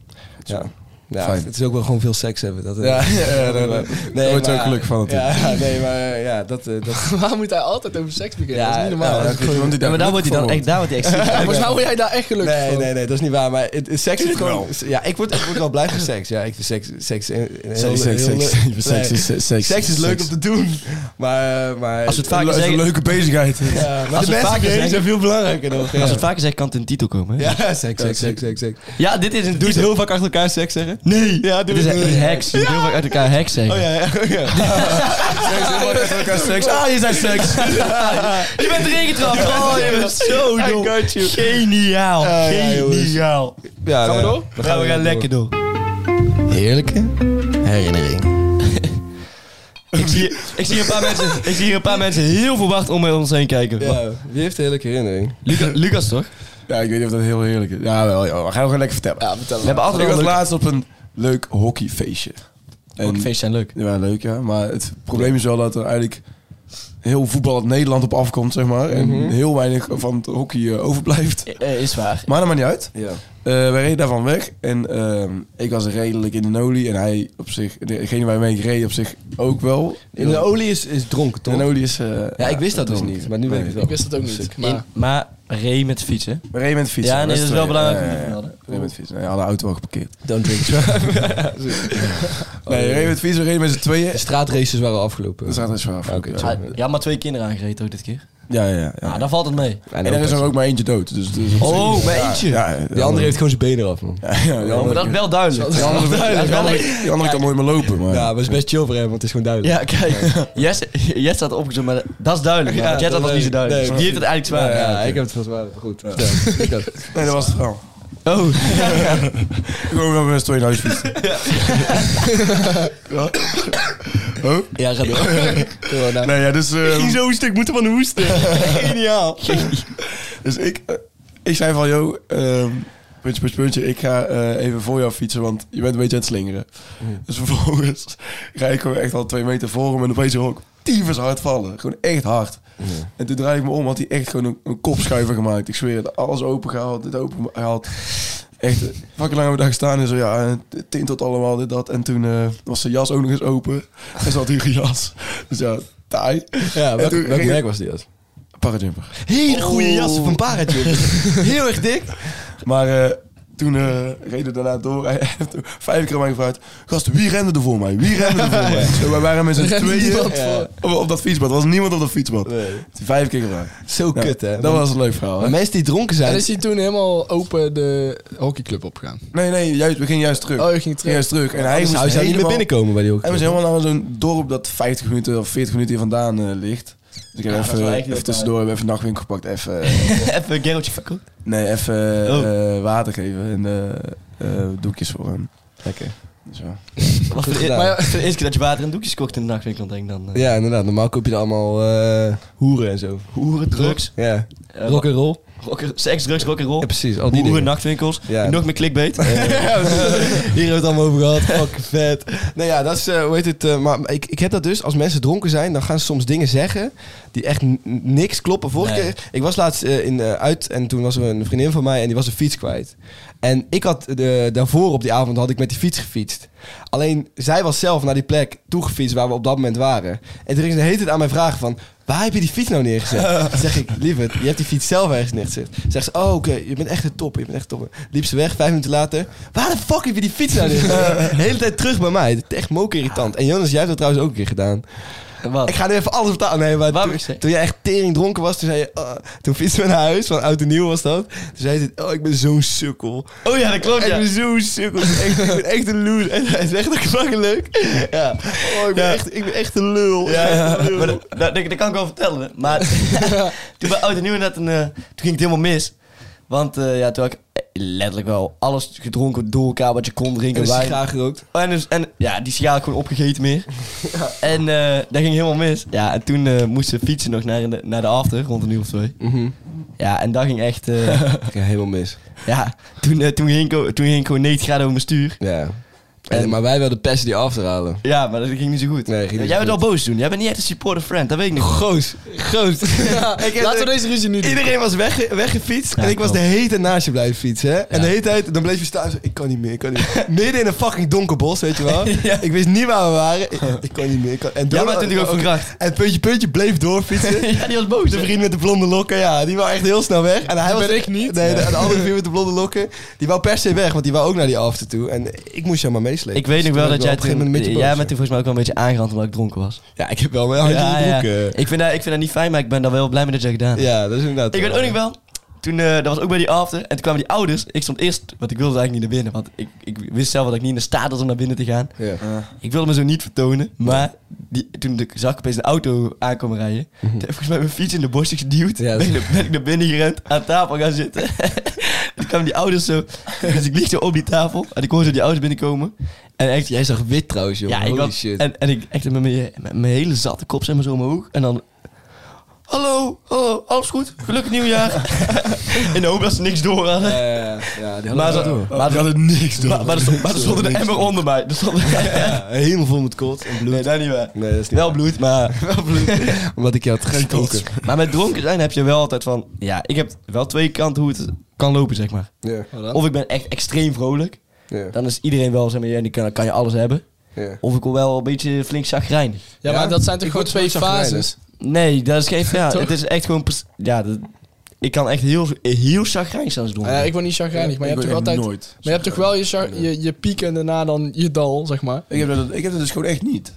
B: Ja. Ja,
C: Fijn.
B: het is ook wel gewoon veel seks hebben. Dat,
C: Ja,
B: (laughs)
C: ja, nee, nee. Daar word je
B: maar-
C: ook gelukkig van natuurlijk.
B: Ja, (laughs) nee, maar eh, ja, dat... eh, dat
E: (laughs) Waar moet hij altijd over seks beginnen?
B: Ja,
E: dat is niet normaal.
B: ja,
C: Ja,
B: dat
E: Ja,
B: is
C: goed, want die
D: Ja, maar daar wordt hij dan
C: van
D: echt, daar wordt hij echt ziek.
E: volgens mij word jij daar echt gelukkig
B: Nee,
E: van.
B: nee, nee, dat is niet waar. Maar het, het seks is gewoon. Ja, ik word, ik word wel blij van seks. Ja, ik vind seks. Seks, eh, heel-
C: Seks, seks,
B: heel (laughs)
C: seks,
B: leuk.
C: seks, seks,
B: Nee.
C: seks, seks,
B: Seks is leuk om te doen. Maar. eh, maar
D: Als we het
C: Het
D: vaker
C: is een
D: zeggen,
C: leuke bezigheid.
B: ja, maar
D: als
B: de
D: we
B: mensen
D: vaker
B: om je heen
D: zeggen-
B: zijn veel belangrijker nog. Ja,
D: als we het vaker zeggen, kan het in de titel komen. hè?
B: (laughs) ja seks, seks, seks, seks, seks.
D: Ja, dit is een
B: Doe je
D: titel.
B: heel vaak achter elkaar seks zeggen?
D: Nee!
B: Ja,
D: dit is een heks. Je moet heel vaak uit elkaar heks zeggen.
B: Oh ja, ja, ja.
C: Seks, ah, je zei seks.
D: Je bent erin getrapt. Oh, je bent zo dom. Geniaal.
B: ja, jongens.
D: Geniaal.
B: Ja,
D: Gaan we
B: ja.
D: door?
B: We
D: Ja,
B: gaan,
D: we gaan lekker door.
B: Heerlijke.
D: Herinnering. (laughs) ik, zie, ik, zie een paar mensen, ik zie hier een paar mensen heel verwacht om ons heen kijken.
B: Ja, wie heeft de heerlijke herinnering?
D: Luca- Lucas, toch?
C: Ja, ik weet niet of dat heel heerlijk is. Ja, wel, joh. we gaan gewoon lekker vertellen.
E: Ja, vertel
D: We hebben altijd
C: ik
D: wel
C: was
D: een leuk...
C: laatst op een leuk hockeyfeestje. En-
D: Ook feesten zijn leuk.
C: Ja, leuk ja. Maar het probleem is wel dat er eigenlijk heel voetbal het Nederland op afkomt, zeg maar.
B: Mhm.
C: En heel weinig van het hockey eh, overblijft.
D: is waar.
C: Maar dat maakt niet uit.
B: Ja.
C: Eh, wij reden daarvan weg. En ehm, ik was redelijk in de nolie. En hij op zich, degene waar mee ik reed op zich ook wel.
B: In de olie is, is dronken,
C: De
B: toch?
C: nolie is... eh,
B: Ja, ik wist dat dus
C: dronken.
B: niet, maar nu weet ik het wel.
E: Ik wist het ook niet. Maar
D: Maar Ray met de fiets, hè?
C: We reden met fietsen.
D: Ja, nee, dat is
C: het
D: wel
C: tweede.
D: belangrijk
C: Ja,
D: om te Oh,
C: ja, ja.
D: vermelden.
C: We reden met fietsen. Nee, hadden de auto al geparkeerd.
B: Don't (laughs) drink drive.
C: Nee, we reden met fietsen. We reden met z'n tweeën.
B: De straatraces waren afgelopen.
C: Dat staat er zwaar voor.
B: Oké,
C: ja.
B: sorry.
D: Ja, Ah, maar twee kinderen aangereden ook dit keer.
C: Ja, ja, ja.
D: Ja, Ah, dan valt het mee.
B: En
C: En er is er ook maar eentje dood. Dus, dus
D: Oh, maar eentje.
C: Ja, ja,
B: Die andere heeft gewoon zijn benen eraf, man.
C: Ja, ja, die
D: maar
C: andere,
D: dat is wel duidelijk.
C: die andere, die andere- die andere kan nooit meer lopen. Maar.
B: Ja, maar het is best chill voor hem, want het is gewoon duidelijk.
D: Ja, kijk. (laughs) Jess, Jess staat opgezocht, maar dat is duidelijk.
B: Ja,
D: Maar Jess
B: dat
D: had was niet zo duidelijk.
B: nee,
D: die heeft het eigenlijk zwaar.
B: Ja, ik heb het volgens mij wel goed. Ja, (laughs) ik had-
C: Nee, dat was het verhaal.
D: (laughs) Oh,
C: Gewoon wel best twee in huis fietsen.
D: ja, ga door.
E: corona.
C: Nee, ja, dus, ehm,
D: zo'n stuk moeten van de (laughs) hoesten. Geniaal.
C: dus ik, eh, ik zei van, joh, ehm, puntje, puntje, puntje, ik ga eh, even voor jou fietsen, want je bent een beetje aan het slingeren.
B: Mm.
C: Dus vervolgens (laughs) rijd ik gewoon echt al twee meter voor hem en opeens hoor ik tyfus hard vallen. Gewoon echt hard. En toen draai ik me om, had hij echt gewoon een, een kopschuiver gemaakt. Ik zweer het, alles open gehaald, dit open gehaald. Echt, eh, fucking lang hebben we daar gestaan en zo, ja, eh, tintelt allemaal, dit, dat. En toen eh, was zijn jas ook nog eens open. En ze had hier een jas. Dus ja, taai.
B: ja welk,
C: toen
B: welk
C: ging-
B: merk was die als?
C: Parajumper.
D: Hele goede jas van Paratje. (laughs) Heel erg dik.
C: Maar eh, toen eh, reden we daarna door. (laughs) Hij heeft toen vijf keer aan mij gevraagd. Gast, wie rende er voor mij? Wie rende er voor
B: (laughs)
C: mij? Zo, wij waren met z'n
E: rende
C: tweeën
E: niemand
C: op, op dat fietsbad. Er was niemand op dat fietsbad.
B: Nee.
C: Vijf keer gevraagd.
B: Zo
C: Ja,
B: kut, hè?
C: Dat was een leuk verhaal.
B: Maar
C: hè?
B: mensen die dronken zijn...
E: En is hij toen helemaal open de hockeyclub opgegaan?
C: Nee, nee, juist, we gingen juist terug.
E: Oh, je ging
C: Ging
E: terug.
C: juist terug. En hij
B: dus hij
C: moest
B: zou niet meer
C: helemaal-
B: binnenkomen bij die hoek.
C: Hij moest helemaal naar zo'n dorp dat 50 minuten of 40 minuten hier vandaan eh, ligt. Dus ik heb
D: Ja, dat is wel
C: even,
D: echt heel
C: even tussendoor even een nachtwinkel gepakt. Even, eh,
D: Even een Geraldje fakkel.
C: nee, even eh,
D: Oh.
C: eh, water geven en eh, eh, doekjes voor hem.
B: Lekker.
C: Dus ja.
D: Wat
B: Goed
D: voor de
B: gedaan.
D: maar voor de eerste keer dat je water en doekjes kocht in de nachtwinkel, denk ik dan. eh.
B: Ja, inderdaad. Normaal koop je er allemaal eh, hoeren en zo.
D: Hoeren, drugs,
B: Ja.
D: eh,
B: Rock and roll.
D: rocker- seks, drugs, rock'n'roll.
B: Ja, precies. Al die
D: Hoeren,
B: dingen.
D: nachtwinkels.
B: Ja.
D: En nog meer clickbait.
B: Hier hebben we het allemaal over gehad. Fucking vet. Nou ja, dat is, eh, hoe heet het, eh, maar ik, ik heb dat dus, als mensen dronken zijn, dan gaan ze soms dingen zeggen die echt n- niks kloppen. Vorige
D: Nee.
B: keer, ik was laatst eh, in, eh, uit en toen was er een vriendin van mij en die was een fiets kwijt. En ik had de, daarvoor op die avond had ik met die fiets gefietst. Alleen zij was zelf naar die plek toegefietst waar we op dat moment waren. En toen ging ze de hele tijd aan mij vragen van... Waar heb je die fiets nou neergezet? Toen zeg ik, lieverd, je hebt die fiets zelf ergens neergezet. Zegt ze, oh oké, je bent echt een top, je bent echt top. Liep ze weg, vijf minuten later. Waar de fuck heb je die fiets nou neergezet? De hele tijd terug bij mij. Het is Echt moke irritant. En Jonas, jij hebt dat trouwens ook een keer gedaan.
D: (laughs) Wat?
B: Ik ga nu even alles vertalen. Nee, maar
D: Waar
B: toen,
D: moet ik zeggen?
B: toen jij echt tering dronken was, toen zei je... ah, toen fietsen we naar huis, van oud en nieuw was dat. Toen zei ze, oh ik ben zo'n sukkel.
D: Oh ja, dat klopt,
B: Ik
D: ja.
B: ben zo'n sukkel. Ik ben echt- ik ben echt een loser. En (laughs) hij zegt ook fucking leuk. Ja. Oh, ik ben,
D: Ja.
B: echt, ik ben echt een lul.
D: Ja,
B: Ik ben echt een lul.
D: maar dat, dat,
B: (laughs)
D: dat kan ik wel vertellen. Maar toen bij Oud en Nieuw inderdaad een, eh, toen ging het helemaal mis. Want eh, ja, toen had ik letterlijk wel alles gedronken door elkaar wat je kon
B: En
D: drinken.
B: een
D: wijn.
B: sigaar gerookt.
D: En, dus, en ja, die sigaar had ik gewoon opgegeten
B: (laughs)
D: meer. En eh, dat ging helemaal mis. Ja, en toen eh, moesten we fietsen nog naar de, naar de after, rond een uur of twee.
B: Mhm.
D: Ja, en dat ging echt...
B: (laughs)
D: eh,
B: Ja, helemaal mis.
D: ja, toen, eh, toen, ging ik, o- toen ging ik gewoon 90 graden over mijn stuur.
B: Ja. En, maar wij wilden pesten die afterhalen.
D: Ja, maar dat ging niet zo goed.
B: Nee, ging niet
D: Jij
B: zo
D: bent al boos toen. Jij bent niet echt een supporter friend, dat weet ik nog.
B: Goos.
D: (laughs)
B: Goos. (laughs)
E: Laten we deze ruzie nu doen.
B: Iedereen was wegge- weggefietst en ik was de hete naast je blijven fietsen. Hè? En de hele tijd, dan bleef je staan. zo, Ik kan niet meer, ik kan niet
D: (laughs)
B: meer. Midden in een fucking donker bos, weet je wel. Ik wist niet waar we waren. Ik, ik kan niet meer. Ik kan, en
D: Jij
B: Donald-
D: bent natuurlijk ook verkracht.
B: En puntje, puntje bleef doorfietsen.
D: (laughs) Ja, die was boos.
B: De vriend met de blonde lokken, ja, die wou echt heel snel weg. En hij was,
E: ben ik niet.
B: Nee, de, de andere vriend met de blonde lokken, die wou per se weg, want die wou ook naar die after toe. En ik moest jou maar meeslepen.
D: Ik weet nog
B: Dus
D: wel
B: toen
D: dat jij
B: ben ik op een gegeven
D: toen...
B: moment een beetje
D: Jij
B: boos.
D: bent toen volgens mij ook wel een beetje aangerand omdat ik dronken was.
B: Ja, ik heb wel mijn handje in de broek, eh.
D: Ik, vind dat, ik vind dat niet fijn, maar ik ben daar wel blij mee dat jij gedaan hebt.
B: Ja, dat is inderdaad.
D: Ik weet
B: wel.
D: ook nog wel. Toen, eh, dat was ook bij die after. En toen kwamen die ouders. Ik stond eerst, want ik wilde eigenlijk niet naar binnen. Want ik, ik wist zelf dat ik niet in de staat was om naar binnen te gaan.
B: Ja.
C: Eh,
D: Ik wilde me zo niet vertonen. Maar die, toen ik- zag ik opeens een auto aankomen rijden. Toen heb ik volgens mij mijn fiets in de borst geduwd.
B: Ja, dat
D: ben,
B: is-
D: ik, naar- ben ik naar binnen gerend, aan tafel gaan zitten. (laughs) toen kwamen die ouders zo. Dus ik liep zo op die tafel. En ik hoorde zo die ouders binnenkomen. En echt,
B: Jij zag wit trouwens, joh.
D: ja, ik
B: Holy
D: had,
B: shit.
D: En, en ik echt met mijn, met mijn hele zatte kop zeg maar zo omhoog. En dan... Hallo, hallo, alles goed? Gelukkig nieuwjaar. (laughs) In de hoop dat ze niks door hadden.
B: Ja, ja, ja. ja, die hadden
D: maar,
B: we
D: ze-
B: door.
D: maar, maar,
C: had het niks door.
D: maar, er stond- maar er stond een emmer onder mij. Er stond, (laughs)
B: Ja, helemaal vol met kot en bloed.
D: nee, dat niet waar.
B: Nee, dat is niet
D: Wel bloed,
B: (laughs)
D: maar...
B: Omdat ik je had gestoken.
D: Maar met dronken zijn heb je wel altijd van... Ja, ik heb wel twee kanten hoe het kan lopen, zeg maar.
B: Ja,
E: Oh,
B: Oh,
D: Of ik ben echt extreem vrolijk.
B: ja,
D: Dan is iedereen wel, zeg maar, ja, die kan, kan je alles hebben.
B: ja.
D: Of ik wil wel een beetje flink chagrijnig.
E: Ja, maar
B: Ja?
E: dat zijn toch
B: Ik
E: gewoon
B: word
E: twee
B: soort chagrijnig.
E: fases.
D: Nee, dat is geen...
B: (laughs)
D: Ja,
E: Toch?
D: het is echt gewoon... pers- Ja, dat- ik kan echt heel, heel chagrijnig zelfs doen.
E: Nou ja, ik word niet chagrijnig, maar je hebt toch altijd... Maar
C: nooit.
E: je hebt toch wel je, char- je, je piek en daarna dan je dal, zeg maar.
C: Ik heb, dat, ik heb dat dus gewoon echt niet.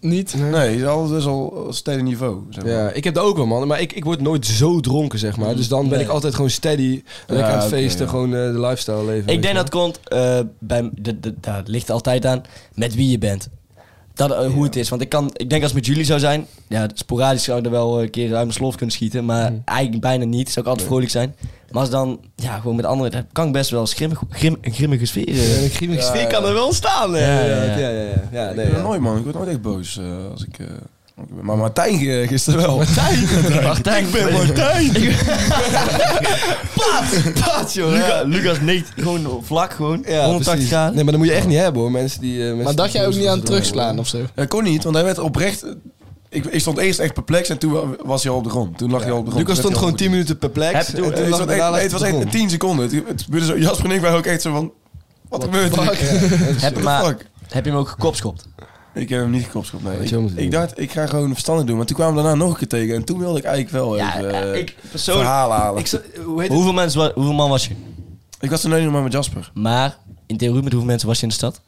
E: Niet?
C: Nee, het is al, dus al steady niveau. Zeg maar.
B: Ja, ik heb dat ook wel, man. Maar ik, ik word nooit zo dronken, zeg maar. Dus dan ben ik altijd gewoon steady. Ben ik
C: Ja,
B: aan het
C: oké,
B: feesten,
C: ja.
B: gewoon eh, de lifestyle leven.
D: Ik
B: weet
D: denk
B: je
D: dat komt, eh, bij, dat, dat, dat ligt altijd aan met wie je bent. Dat, eh, Hoe het is. Want ik, kan, ik denk als het met jullie zou zijn, ja, sporadisch zou ik er wel eh, een keer uit mijn slof kunnen schieten. Maar eigenlijk bijna niet. Zou ik altijd vrolijk zijn. Maar als dan, ja, gewoon met anderen, dan kan ik best wel grimmig, grim, een grimmige sfeer. eh.
B: wel. Een grimmige sfeer kan er wel ontstaan.
D: Ja, ja,
B: Ja, ja,
D: ja.
B: ja. ja, ja,
C: ik
B: nee,
C: ben er
B: ja.
C: eh, nooit, man. Ik word nooit echt boos eh, als ik... eh, dronken ben. maar Martijn eh, gisteren wel.
E: (laughs)
D: (laughs) Martijn. (laughs) Ik ben Martijn. pat, pat, joh. Luca- Lucas neemt gewoon vlak, gewoon.
B: Ja,
D: 180
B: precies.
D: graden.
B: Nee, maar dat moet je echt niet hebben, hoor. Mensen die... eh, mensen
E: Maar dacht
B: die
E: jij ook
B: boos
E: niet aan
B: worden.
E: terugslaan of zo?
C: Dat kon niet, want hij werd oprecht... Ik, ik stond eerst echt perplex en toen was hij al op de grond. Toen lag hij al op de grond.
B: Lucas
C: Toen
B: stond
C: werd hij al
B: gewoon
C: op de
B: 10 minuten perplex.
D: Heb je-
B: en
C: grond.
B: toen
C: eh, Het
B: lag
C: was
B: ik
C: echt-
B: daarna
C: nee, Het was
B: op de
C: echt
B: grond.
C: 10 seconden. Het, het gebeurde zo, Jasper en ik waren ook echt zo van... Wat gebeurt er?
D: Heb, je
C: (laughs) What the
D: maar,
C: fuck?
D: heb je hem ook gekopschopt?
C: Ik heb hem niet gekopschopt, nee.
B: Wat
C: Ik,
B: je moet
C: ik
B: doen.
C: dacht, ik ga gewoon verstandig doen. Maar toen kwamen we daarna nog een keer tegen. En toen wilde ik eigenlijk wel
D: Ja,
C: even
D: ja,
C: eh,
D: ik persoonlijk-
C: verhalen halen.
D: Ik
C: Ik,
D: zo- hoe heet het? hoeveel, mensen, wa- hoeveel man was je?
C: was toen alleen nog maar met Jasper.
D: Maar in theorie, met hoeveel mensen was je in de stad?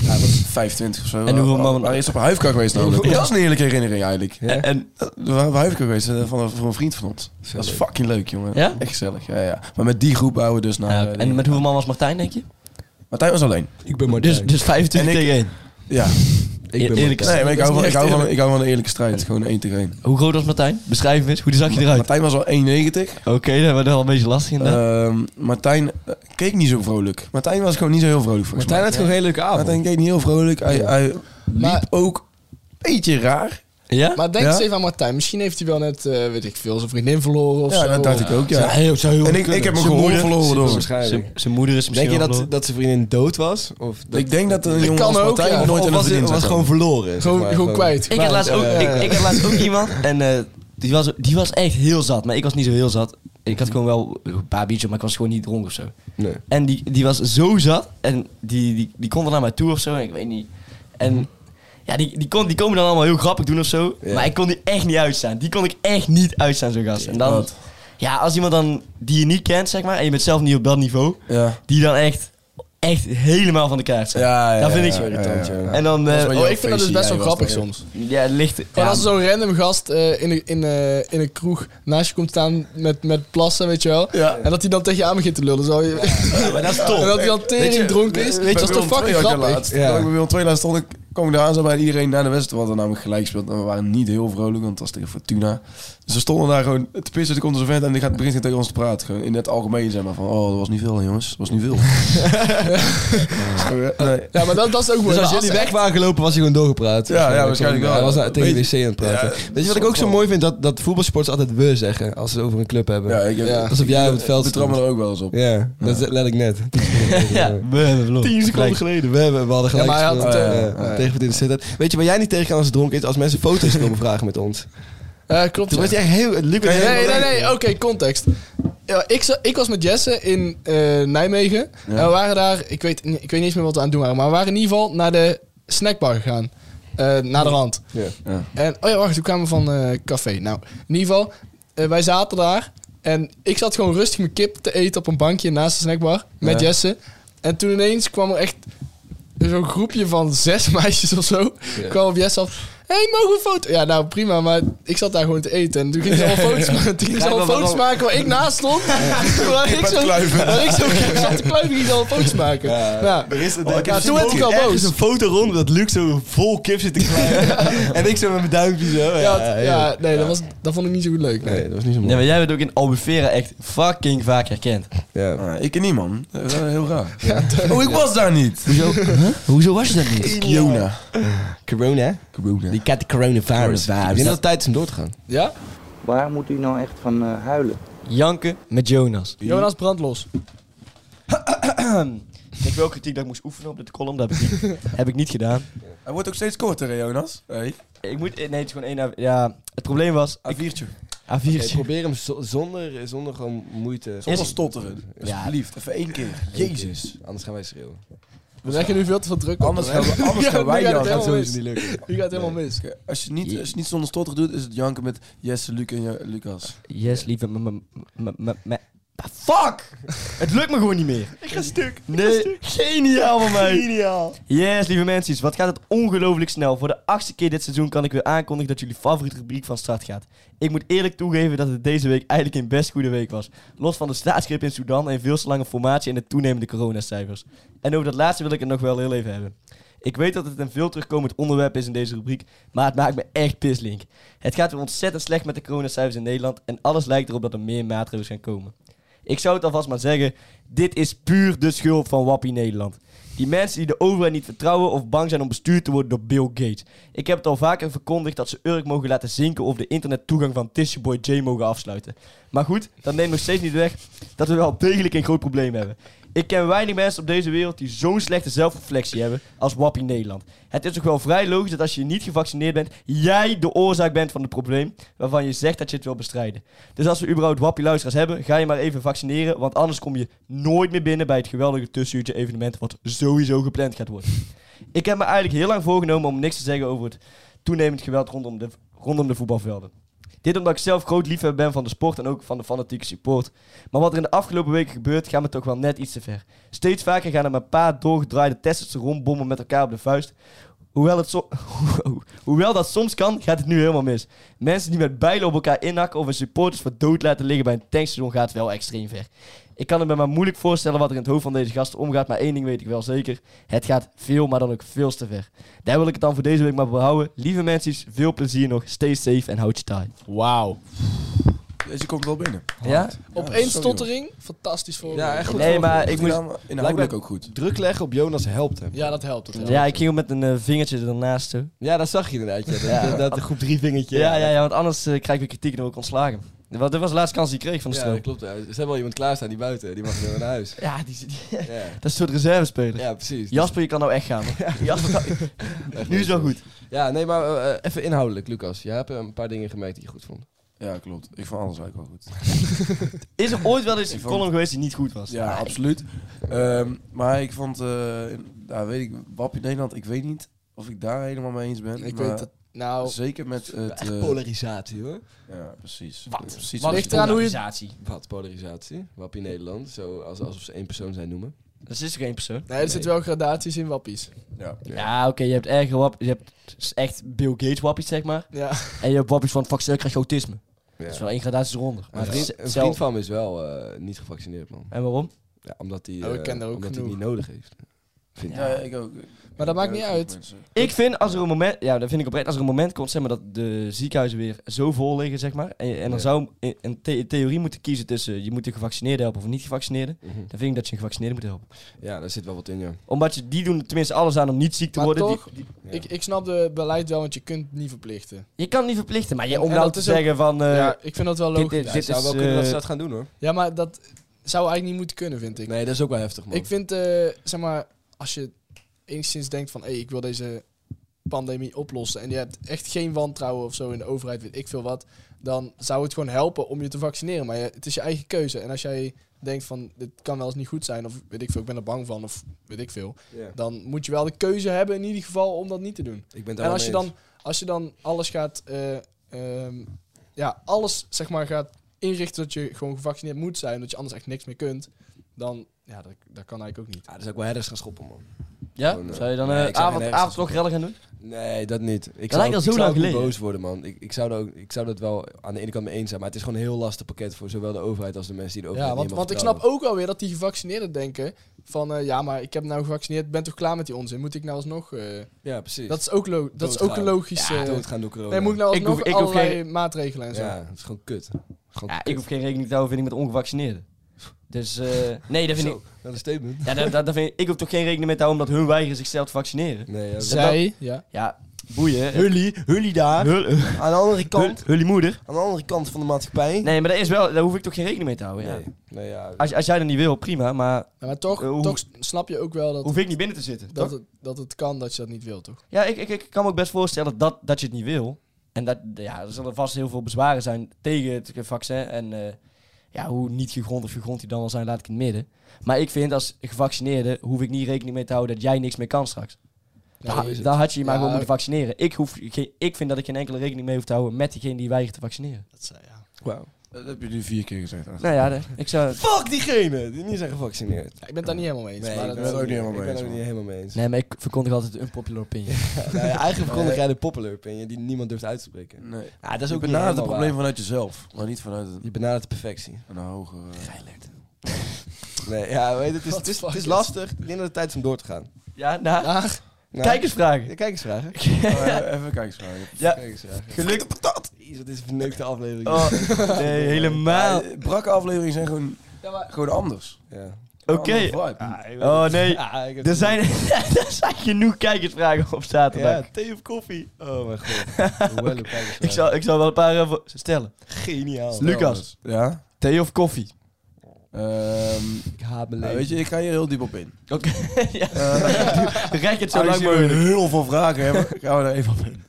C: Ja, dat was 25 of zo.
D: En hoeveel
C: We-
D: man-
C: we waren eerst op een huifkar geweest namelijk.
D: Ja.
C: Dat is een heerlijke herinnering eigenlijk. eh,
D: En, en-
C: We waren op een huifkar geweest eh, van, voor een vriend van ons. Dat is fucking leuk, jongen.
D: Ja?
C: Echt gezellig, ja, ja. Maar met die groep houden we dus naar...
D: nou,
C: eh,
D: en
C: die-
D: met hoeveel man was Martijn, denk je?
C: Martijn was alleen.
B: Ik ben maar
D: Dus, dus 25
C: En ik-
D: tegen 1.
C: Ja.
D: Eer- eerlijk
C: Nee, maar ik hou, van, ik, hou van,
B: eerlijk.
C: ik hou van een eerlijke strijd. Gewoon één tegen één.
D: Hoe groot was Martijn? Beschrijf hem eens. Hoe zag je eruit?
C: Martijn was al 1,90.
D: Oké, dat werd wel een beetje lastig inderdaad.
C: Ehm, Martijn eh, keek niet zo vrolijk. Martijn was gewoon niet zo heel vrolijk volgens
B: Martijn
C: mij.
B: had gewoon een hele leuke avond.
C: Martijn keek niet heel vrolijk. Hij, hij liep
E: Maar-
C: ook een beetje raar.
D: Eh, ja?
E: Maar denk
C: Ja?
E: eens even aan Martijn. Misschien heeft hij wel net, eh, weet ik veel, zijn vriendin verloren of
C: Ja,
E: zo.
C: dat dacht ik ook, ja. En ik, ik heb mijn gehoor verloren door.
B: Waarschijnlijk.
D: Zijn moeder is
B: Denk
D: misschien
B: je
D: wel
B: dat,
D: verloren.
B: dat zijn vriendin dood was? Of dat,
C: Ik denk dat een jongen
E: kan
C: als
E: ook,
C: Martijn
E: ja.
C: nooit in
B: of
C: een
B: was, het,
C: vriendin
B: was
C: zou
B: gewoon
C: komen.
B: verloren. zeg
E: Gewoon,
B: maar.
E: gewoon kwijt.
D: Ik had laatst ook,
C: eh,
B: Ja, ja.
D: ik, ik had laatst ook iemand en eh, die, was, die was echt heel zat. Maar ik was niet zo heel zat. Ik had gewoon wel een paar biertjes, maar ik was gewoon niet dronken of zo.
B: Nee.
D: En die, die was zo zat. En die, die, die kon er naar mij toe of zo. En ik weet niet.
C: Mhm.
D: En ja, die, die, kon, die komen dan allemaal heel grappig doen of zo.
B: Ja.
D: Maar ik kon die echt niet uitstaan. Die kon ik echt niet uitstaan, zo'n gast. En dan,
C: Wat?
D: ja, als iemand dan die je niet kent, zeg maar. En je bent zelf niet op dat niveau.
C: Ja.
D: Die dan echt, echt helemaal van de kaart zijn.
C: Ja, ja,
D: dat vind
C: ja,
D: ik zo
C: ja,
D: irritant,
C: ja,
D: joh.
C: ja.
D: En dan, eh,
C: bij
D: oh,
C: jou.
E: Oh, ik vind dat dus best wel
C: Jij was
E: grappig
C: dat, ja.
E: soms.
D: ja, het ligt.
E: Gewoon
D: ja,
E: als er zo'n random gast eh, in, een- in, eh, in een kroeg naast je komt staan met, met plassen, weet je wel.
C: Ja.
E: En dat hij dan tegen je aan begint te lullen. Zo.
D: maar dat is top.
E: En (laughs) dat hij dan tering dronken is.
C: Weet je,
E: dat is toch fucking grappig?
C: Ja.
B: Ja.
C: Ik ben Willem 2 laatst stond ik kwam ik daar aan, zo bij iedereen naar de wedstrijd. We hadden namelijk gelijk gespeeld. En we waren niet heel vrolijk, want het was tegen Fortuna. Dus we stonden daar gewoon te pissen. Toen komt onze vent en die gaat begint tegen ons te praten. Gewoon in het algemeen, zeg maar. Van, oh, dat was niet veel, hè, jongens. Dat was niet veel. Ja. Nee.
E: Ja, maar dat, dat is ook
B: Dus
E: mooi.
B: als
E: Maar
B: jullie
E: als-
B: weg waren gelopen, was hij gewoon doorgepraat.
C: Ja, ja, waarschijnlijk wel.
B: Hij was naar- tegen de
C: Weet-
B: wc aan het praten.
C: Ja,
B: Weet je wat ik ook zo mooi vind? Dat, dat voetbalsporters altijd we zeggen als ze het over een club hebben.
C: Ja, ik heb,
E: Ja.
B: Alsof jij op het veld
C: We trammen er ook wel eens op.
B: Ja, dat is let ik (laughs) net.
D: we hebben verloren.
B: Tien seconden geleden. We, hebben, we hadden
E: Ja,
B: gelijk
E: maar hij had
B: gespeeld.
C: het,
B: Ja,
C: eh,
B: ja,
C: ja.
B: tegen wat in de zit. Weet je waar jij niet tegen kan als het dronken is? Als mensen foto's komen (laughs) vragen met ons.
E: Eh, klopt.
B: Toen
E: ja.
B: was hij echt heel... het liep
E: Nee,
B: helemaal
E: nee, nee,
B: uit.
E: nee. oké, context. Ja, ik, za- ik was met Jesse in eh, Nijmegen. En we waren daar, ik weet, ik weet niet eens meer wat we aan het doen waren, maar we waren in ieder geval naar de snackbar gegaan. Eh naar de rand.
B: Ja.
C: Ja.
E: En, oh ja, wacht, toen kwamen we van eh, café. Nou, in ieder geval, eh, wij zaten daar. En ik zat gewoon rustig mijn kip te eten op een bankje naast de snackbar met
C: Ja.
E: Jesse. En toen ineens kwam er echt zo'n groepje van (laughs) zes meisjes of zo. kwam op Jesse af. Hé, hey, mogen we een foto? Ja, nou prima, maar ik zat daar gewoon te eten. En toen gingen ze
B: (laughs)
E: allemaal foto's, maken- toen gingen ze allemaal foto's maken waar ik naast stond. (laughs) Waar, ik zo, waar ik zo kip zat te kluiven, gingen ze allemaal foto's maken. Nou, Ja.
B: Er is,
E: ik heb
B: toen
E: zo'n
B: werd Oh, ik
E: foto.
B: al boos. Er is een foto rond dat Luc zo vol kip zit te (laughs) krijgen. en ik zo met mijn duimpje zo.
E: Ja,
B: Ja,
E: het- ja, nee, dat, was, dat vond ik niet zo goed leuk.
B: Nee, dat was niet zo
D: Nee,
B: mooi.
D: maar jij bent ook in Albufeira echt fucking vaak herkend.
B: Ja.
C: Ah, ik en niet, man. Dat is wel heel raar. (laughs) oh, ik was daar niet.
D: Hoezo, Hoezo was je dat niet?
C: Jona.
B: Corona. Die cat coronavirus. Ik denk dat het tijd is om door te gaan.
E: Ja?
F: Waar moet u nou echt van eh, huilen?
D: Janken met Jonas.
E: Jonas Brandlos.
D: Ik heb wel kritiek dat ik moest oefenen op de column, dat heb ik niet, (laughs) heb ik niet gedaan.
C: Hij wordt ook steeds korter, hè, Jonas? Hey.
D: Ik moet, nee, het is gewoon één, A- ja, het probleem was,
C: Een viertje.
D: A4'tje.
B: probeer hem zonder, zonder gewoon moeite.
C: Zonder stotteren. Alsjeblieft, even één keer. Jezus.
B: Anders gaan wij schreeuwen.
E: We leggen nu veel te veel druk op.
C: Anders
E: hè?
C: gaan, we,
E: (laughs)
C: anders
E: Ja,
C: gaan wij
E: nu gaat het
C: janken.
E: helemaal mis.
B: niet lukken.
E: Nu gaat het helemaal mis.
C: Oké, Als je, niet, als je niet zonder stotteren doet, is het janken met Jesse, Luc en Jo- Lucas.
D: Yes, lieve m- m- m- m- m- Ah, Fuck! Het lukt me gewoon niet meer. Ik ga stuk. Nee, geniaal van mij. Geniaal. Yes, lieve mensen, wat gaat het ongelooflijk snel. Voor de achtste keer dit seizoen kan ik weer aankondigen dat jullie favoriete rubriek van start gaat. Ik moet eerlijk toegeven dat het deze week eigenlijk een best goede week was. Los van de staatsgreep in Sudan en veel te lange formatie en de toenemende coronacijfers. En over dat laatste wil ik het nog wel heel even hebben. Ik weet dat het een veel terugkomend onderwerp is in deze rubriek, maar het maakt me echt pislink. Het gaat weer ontzettend slecht met de coronacijfers in Nederland en alles lijkt erop dat er meer maatregelen gaan komen. Ik zou het alvast maar zeggen, dit is puur de schuld van Wappie Nederland. Die mensen die de overheid niet vertrouwen of bang zijn om bestuurd te worden door Bill Gates. Ik heb het al vaker verkondigd dat ze Urk mogen laten zinken of de internettoegang van Tissueboy J mogen afsluiten. Maar goed, dat neemt nog steeds niet weg dat we wel degelijk een groot probleem hebben. Ik ken weinig mensen op deze wereld die zo'n slechte zelfreflectie hebben als Wappie Nederland. Het is toch wel vrij logisch dat als je niet gevaccineerd bent, jij de oorzaak bent van het probleem waarvan je zegt dat je het wil bestrijden. Dus als we überhaupt Wappie luisteraars hebben, ga je maar even vaccineren, want anders kom je nooit meer binnen bij het geweldige tussenuurtje evenement wat sowieso gepland gaat worden. Ik heb me eigenlijk heel lang voorgenomen om niks te zeggen over het toenemend geweld rondom de, rondom de voetbalvelden. Dit omdat ik zelf groot liefhebber ben van de sport en ook van de fanatieke support. Maar wat er in de afgelopen weken gebeurt, gaat me toch wel net iets te ver. Steeds vaker gaan er maar een paar doorgedraaide testers rondbommen met elkaar op de vuist. Hoewel, het so- (laughs) Hoewel dat soms kan, gaat het nu helemaal mis. Mensen die met bijlen op elkaar inhakken of hun supporters voor dood laten liggen bij een tankstation gaat wel extreem ver. Ik kan het me maar moeilijk voorstellen wat er in het hoofd van deze gasten omgaat, maar één ding weet ik wel zeker. Het gaat veel, maar dan ook veel te ver. Daar wil ik het dan voor deze week maar behouden. Lieve mensen, veel plezier nog. Stay safe en houd je taai.
E: Wauw.
C: Deze komt wel binnen.
D: Ja?
E: Op
C: Ja,
E: één
C: sorry,
E: stottering, fantastisch voor.
B: Ja, echt goed.
D: Nee, maar ik
C: Ik
D: moest...
C: moet inhoudelijk ook goed.
B: Druk leggen op Jonas helpt hem.
E: Ja, dat helpt. Dat helpt.
D: Ja, ik ging met een eh, vingertje ernaast toe.
B: Ja, dat zag je inderdaad. Ja. Dat,
D: Ja.
B: dat, dat groep drie vingertje.
D: Ja, ja, ja, want anders eh, krijg ik weer kritiek en dan word ik ontslagen. Want dit was de laatste kans die ik kreeg van de
B: Ja,
D: stroom.
B: dat klopt. ja. Ze hebben al iemand klaarstaan die buiten. Die mag weer naar huis.
D: Ja, die, die-
B: Ja,
D: (laughs)
B: (laughs)
D: dat is een soort reservespeler.
B: ja precies.
D: Jasper, je kan nou echt gaan. (laughs) hoor. Jasper, kan- (laughs) nu is wel goed.
B: Ja, nee, maar eh, eh, even inhoudelijk, Lucas. Je hebt eh, een paar dingen gemerkt die je goed vond.
C: Ja, klopt. Ik vond alles eigenlijk wel goed.
D: Is er ooit wel eens een
C: Ik vond-
D: column geweest die niet goed was?
C: Ja, absoluut. Ehm, maar ik vond, eh in- nou weet ik, Wappie Nederland, ik weet niet of ik daar helemaal mee eens ben.
E: Ik
C: maar
E: weet het. Nou,
D: dus-
C: Zeker met het... eh,
B: polarisatie, hoor.
C: ja, precies.
D: Wat?
C: Precies
E: Wat
C: wat
E: ligt eraan hoe je...
D: Organisatie.
B: Wat polarisatie? Wappie Nederland. Zo, als, alsof ze één persoon zijn noemen.
D: Dat is toch één persoon?
E: Nee, er zitten wel gradaties in wappies.
C: Ja.
D: Ja, oké, je hebt erger wap, je hebt s- echt Bill Gates wappies, zeg maar.
E: Ja.
D: En je hebt wappies van, fuck, stel, krijg je autisme.
B: Ja.
D: Dat is wel één gradatie eronder. Maar
B: Een
D: het is
B: vriend, een
D: zelf-
B: vriend van me is wel eh, niet gevaccineerd, man.
D: En waarom?
B: Ja, omdat hij
E: Oh, ik
B: eh,
E: ken er ook
B: omdat hij het
E: genoeg.
B: niet nodig heeft. Vind ik.
C: Ja, ik ook.
E: Maar dat maakt niet
C: ook
E: uit.
C: mensen.
D: Ik vind als er een moment, ja, dat vind ik oprecht, als er een moment komt, zeg maar, dat de ziekenhuizen weer zo vol liggen, zeg maar, en, en dan
B: Ja.
D: zou in, in the- in theorie moeten kiezen tussen je moet de gevaccineerde helpen of een niet-gevaccineerde,
B: Mhm.
D: dan vind ik dat je een gevaccineerde moet helpen.
B: Ja, daar zit wel wat in, ja.
D: Omdat je, die doen er tenminste alles aan om niet ziek te
E: Maar
D: worden. Die-
E: toch,
B: Ja.
E: (laughs) ik, ik snap de beleid wel, want je kunt het niet verplichten.
D: je kan het niet verplichten, maar je, om
E: En
D: nou
E: dat
D: te
E: is ook-
D: zeggen van, eh,
E: ja, ik vind dat wel
D: dit-
E: logisch.
D: dit-
B: Ja,
D: dit
B: het zou
D: is,
B: wel kunnen dat
D: eh,
B: ze dat gaan doen, hoor.
E: Ja, maar dat zou eigenlijk niet moeten kunnen, vind ik.
B: Nee, dat is ook wel heftig, man.
E: Ik vind, eh, zeg maar, als je enigszins denkt van, hé, ik wil deze pandemie oplossen en je hebt echt geen wantrouwen of zo in de overheid, weet ik veel wat, dan zou het gewoon helpen om je te vaccineren. Maar je- het is je eigen keuze. En als jij denkt van, dit kan wel eens niet goed zijn, of weet ik veel, ik ben er bang van, of weet ik veel,
B: Ja.
E: dan moet je wel de keuze hebben in ieder geval om dat niet te doen.
B: Ik ben het
E: En
B: daar
E: als je
B: wel mee
E: dan, als je dan alles gaat, eh, ehm, ja, alles zeg maar gaat inrichten dat je gewoon gevaccineerd moet zijn, dat je anders echt niks meer kunt, dan, ja, dat, dat kan eigenlijk ook niet.
B: eens. Ja, dat is ook wel herders gaan schoppen, man.
E: Oh,
D: ja?
B: gewoon, eh,
D: zou je dan
B: nee,
D: eh
B: ik zou
D: avond,
B: nergens
D: avondklok rellen gaan doen?
B: Nee, dat niet. Ik
D: lijkt
B: zou,
D: al
B: ook-
D: zo
B: ik zou
D: lang
B: ook niet
D: geleden.
B: boos worden, man. Ik, ik, zou dat ook, ik zou dat wel aan de ene kant mee eens zijn, maar het is gewoon een heel lastig pakket voor zowel de overheid als de mensen die de overheid
E: Ja, want,
B: niet
E: want ik
B: helemaal
E: snap ook wel weer dat die gevaccineerden denken van, eh, ja, maar ik heb nou gevaccineerd, ben toch klaar met die onzin? Moet ik nou alsnog? eh
B: vertrouwen. Ja, precies.
E: dat is ook, lo- dat is ook een
B: Doodgaan.
E: logische...
B: Ja, doodgaan door corona.
E: nee, moet ik nou
D: Ik
E: alsnog
D: hoef- ik hoef
E: allerlei maatregelen en zo?
B: Ja, het is gewoon kut. Gewoon
D: Ja,
B: kut.
D: ik hoef geen rekening te houden, vind ik, met ongevaccineerden. Dus, eh, nee, dat vind
B: Zo,
D: ik...
B: dat is een statement.
D: Ja, dat, dat, dat vind ik, ik hoef toch geen rekening mee te houden omdat hun weigeren zichzelf te vaccineren.
B: Nee, ja,
E: Zij, ja.
D: Ja, boeien.
B: Hully, Hully daar. aan de andere kant,
D: Hullie moeder.
B: aan de andere kant van de maatschappij.
D: Nee, maar dat is wel, daar hoef ik toch geen rekening mee te houden. Ja.
B: Nee, nee, ja.
D: Als, als jij dat niet wil, prima, maar
E: Ja, maar toch,
D: Eh, hoe-
E: toch snap je ook wel dat,
D: hoef ik niet binnen te zitten.
E: dat,
D: toch?
E: het, dat het kan dat je dat niet wil, toch?
D: Ja, ik, ik, ik kan me ook best voorstellen dat, dat je het niet wil. En dat, ja, er zullen vast heel veel bezwaren zijn tegen het vaccin. En eh, ja, hoe niet gegrond of gegrond die dan wel zijn, laat ik in het midden. Maar ik vind als gevaccineerde hoef ik niet rekening mee te houden dat jij niks meer kan straks.
E: Ja,
D: daar, daar had je je maar
E: Ja.
D: gewoon moeten vaccineren. Ik, hoef, geen- ik vind dat ik geen enkele rekening mee hoef te houden met degene die weigert te vaccineren.
E: dat zei, ja.
C: Dat heb je nu vier keer gezegd. Aad.
D: Nou ja, de- ik zou...
B: (laughs) Fuck diegene die niet zijn gevaccineerd.
E: Ja, ik ben het daar niet helemaal mee eens.
B: Nee,
E: maar
B: ik
E: dat-
B: ben het ook niet helemaal
C: ik
B: mee
C: ben
B: eens.
C: het ook
B: man.
C: niet
D: Nee, maar ik verkondig altijd een unpopular opinion.
B: (laughs) Nou ja, eigenlijk verkondig jij de popular opinion die niemand durft uit te spreken.
C: Nee.
B: Ja, dat
C: Dat
B: is ook
C: je
B: niet
C: benadert het
B: helemaal
C: probleem
B: waar.
C: vanuit jezelf, maar niet vanuit een, (laughs)
B: Je benadert de perfectie.
C: een eh, hogere...
E: (laughs)
B: Nee, ja, weet je, het is, het is,
E: fuck
B: het is
E: is-
B: lastig. Ik denk dat het tijd is om door te gaan.
D: Ja, nou,
E: Daar.
B: Nou,
D: kijkersvragen.
B: ja, Kijk eens (laughs) vragen.
C: Eh, even kijksvragen.
D: Ja,
B: Kijk eens vragen.
D: geluk.
B: Jezus, dit is een vernukte aflevering.
D: Oh, nee,
B: (laughs)
D: helemaal.
C: Ja, brakke afleveringen zijn gewoon,
E: Ja, maar
C: gewoon anders.
B: Ja.
D: Oké.
C: Andere vibe.
D: Oh nee,
B: Ja, ik heb-
D: er zijn, (laughs) er zijn genoeg kijkersvragen op zaterdag.
B: Ja, thee of koffie. Oh (laughs) mijn god. Hoewel, kijk
D: Ik, zal, ik zal wel een paar eh, voor- stellen.
B: Geniaal.
D: Lucas,
C: Ja?
D: thee of koffie?
C: Ehm,
B: Ik haat
C: nou,
B: mijn leven.
C: weet je, ik ga hier heel diep op in. (laughs)
D: Oké, (laughs) ja.
B: (laughs)
D: Rek het zo
C: Aangezien
D: lang
C: we
D: mogelijk.
C: heel veel vragen hebben, gaan we daar even op in.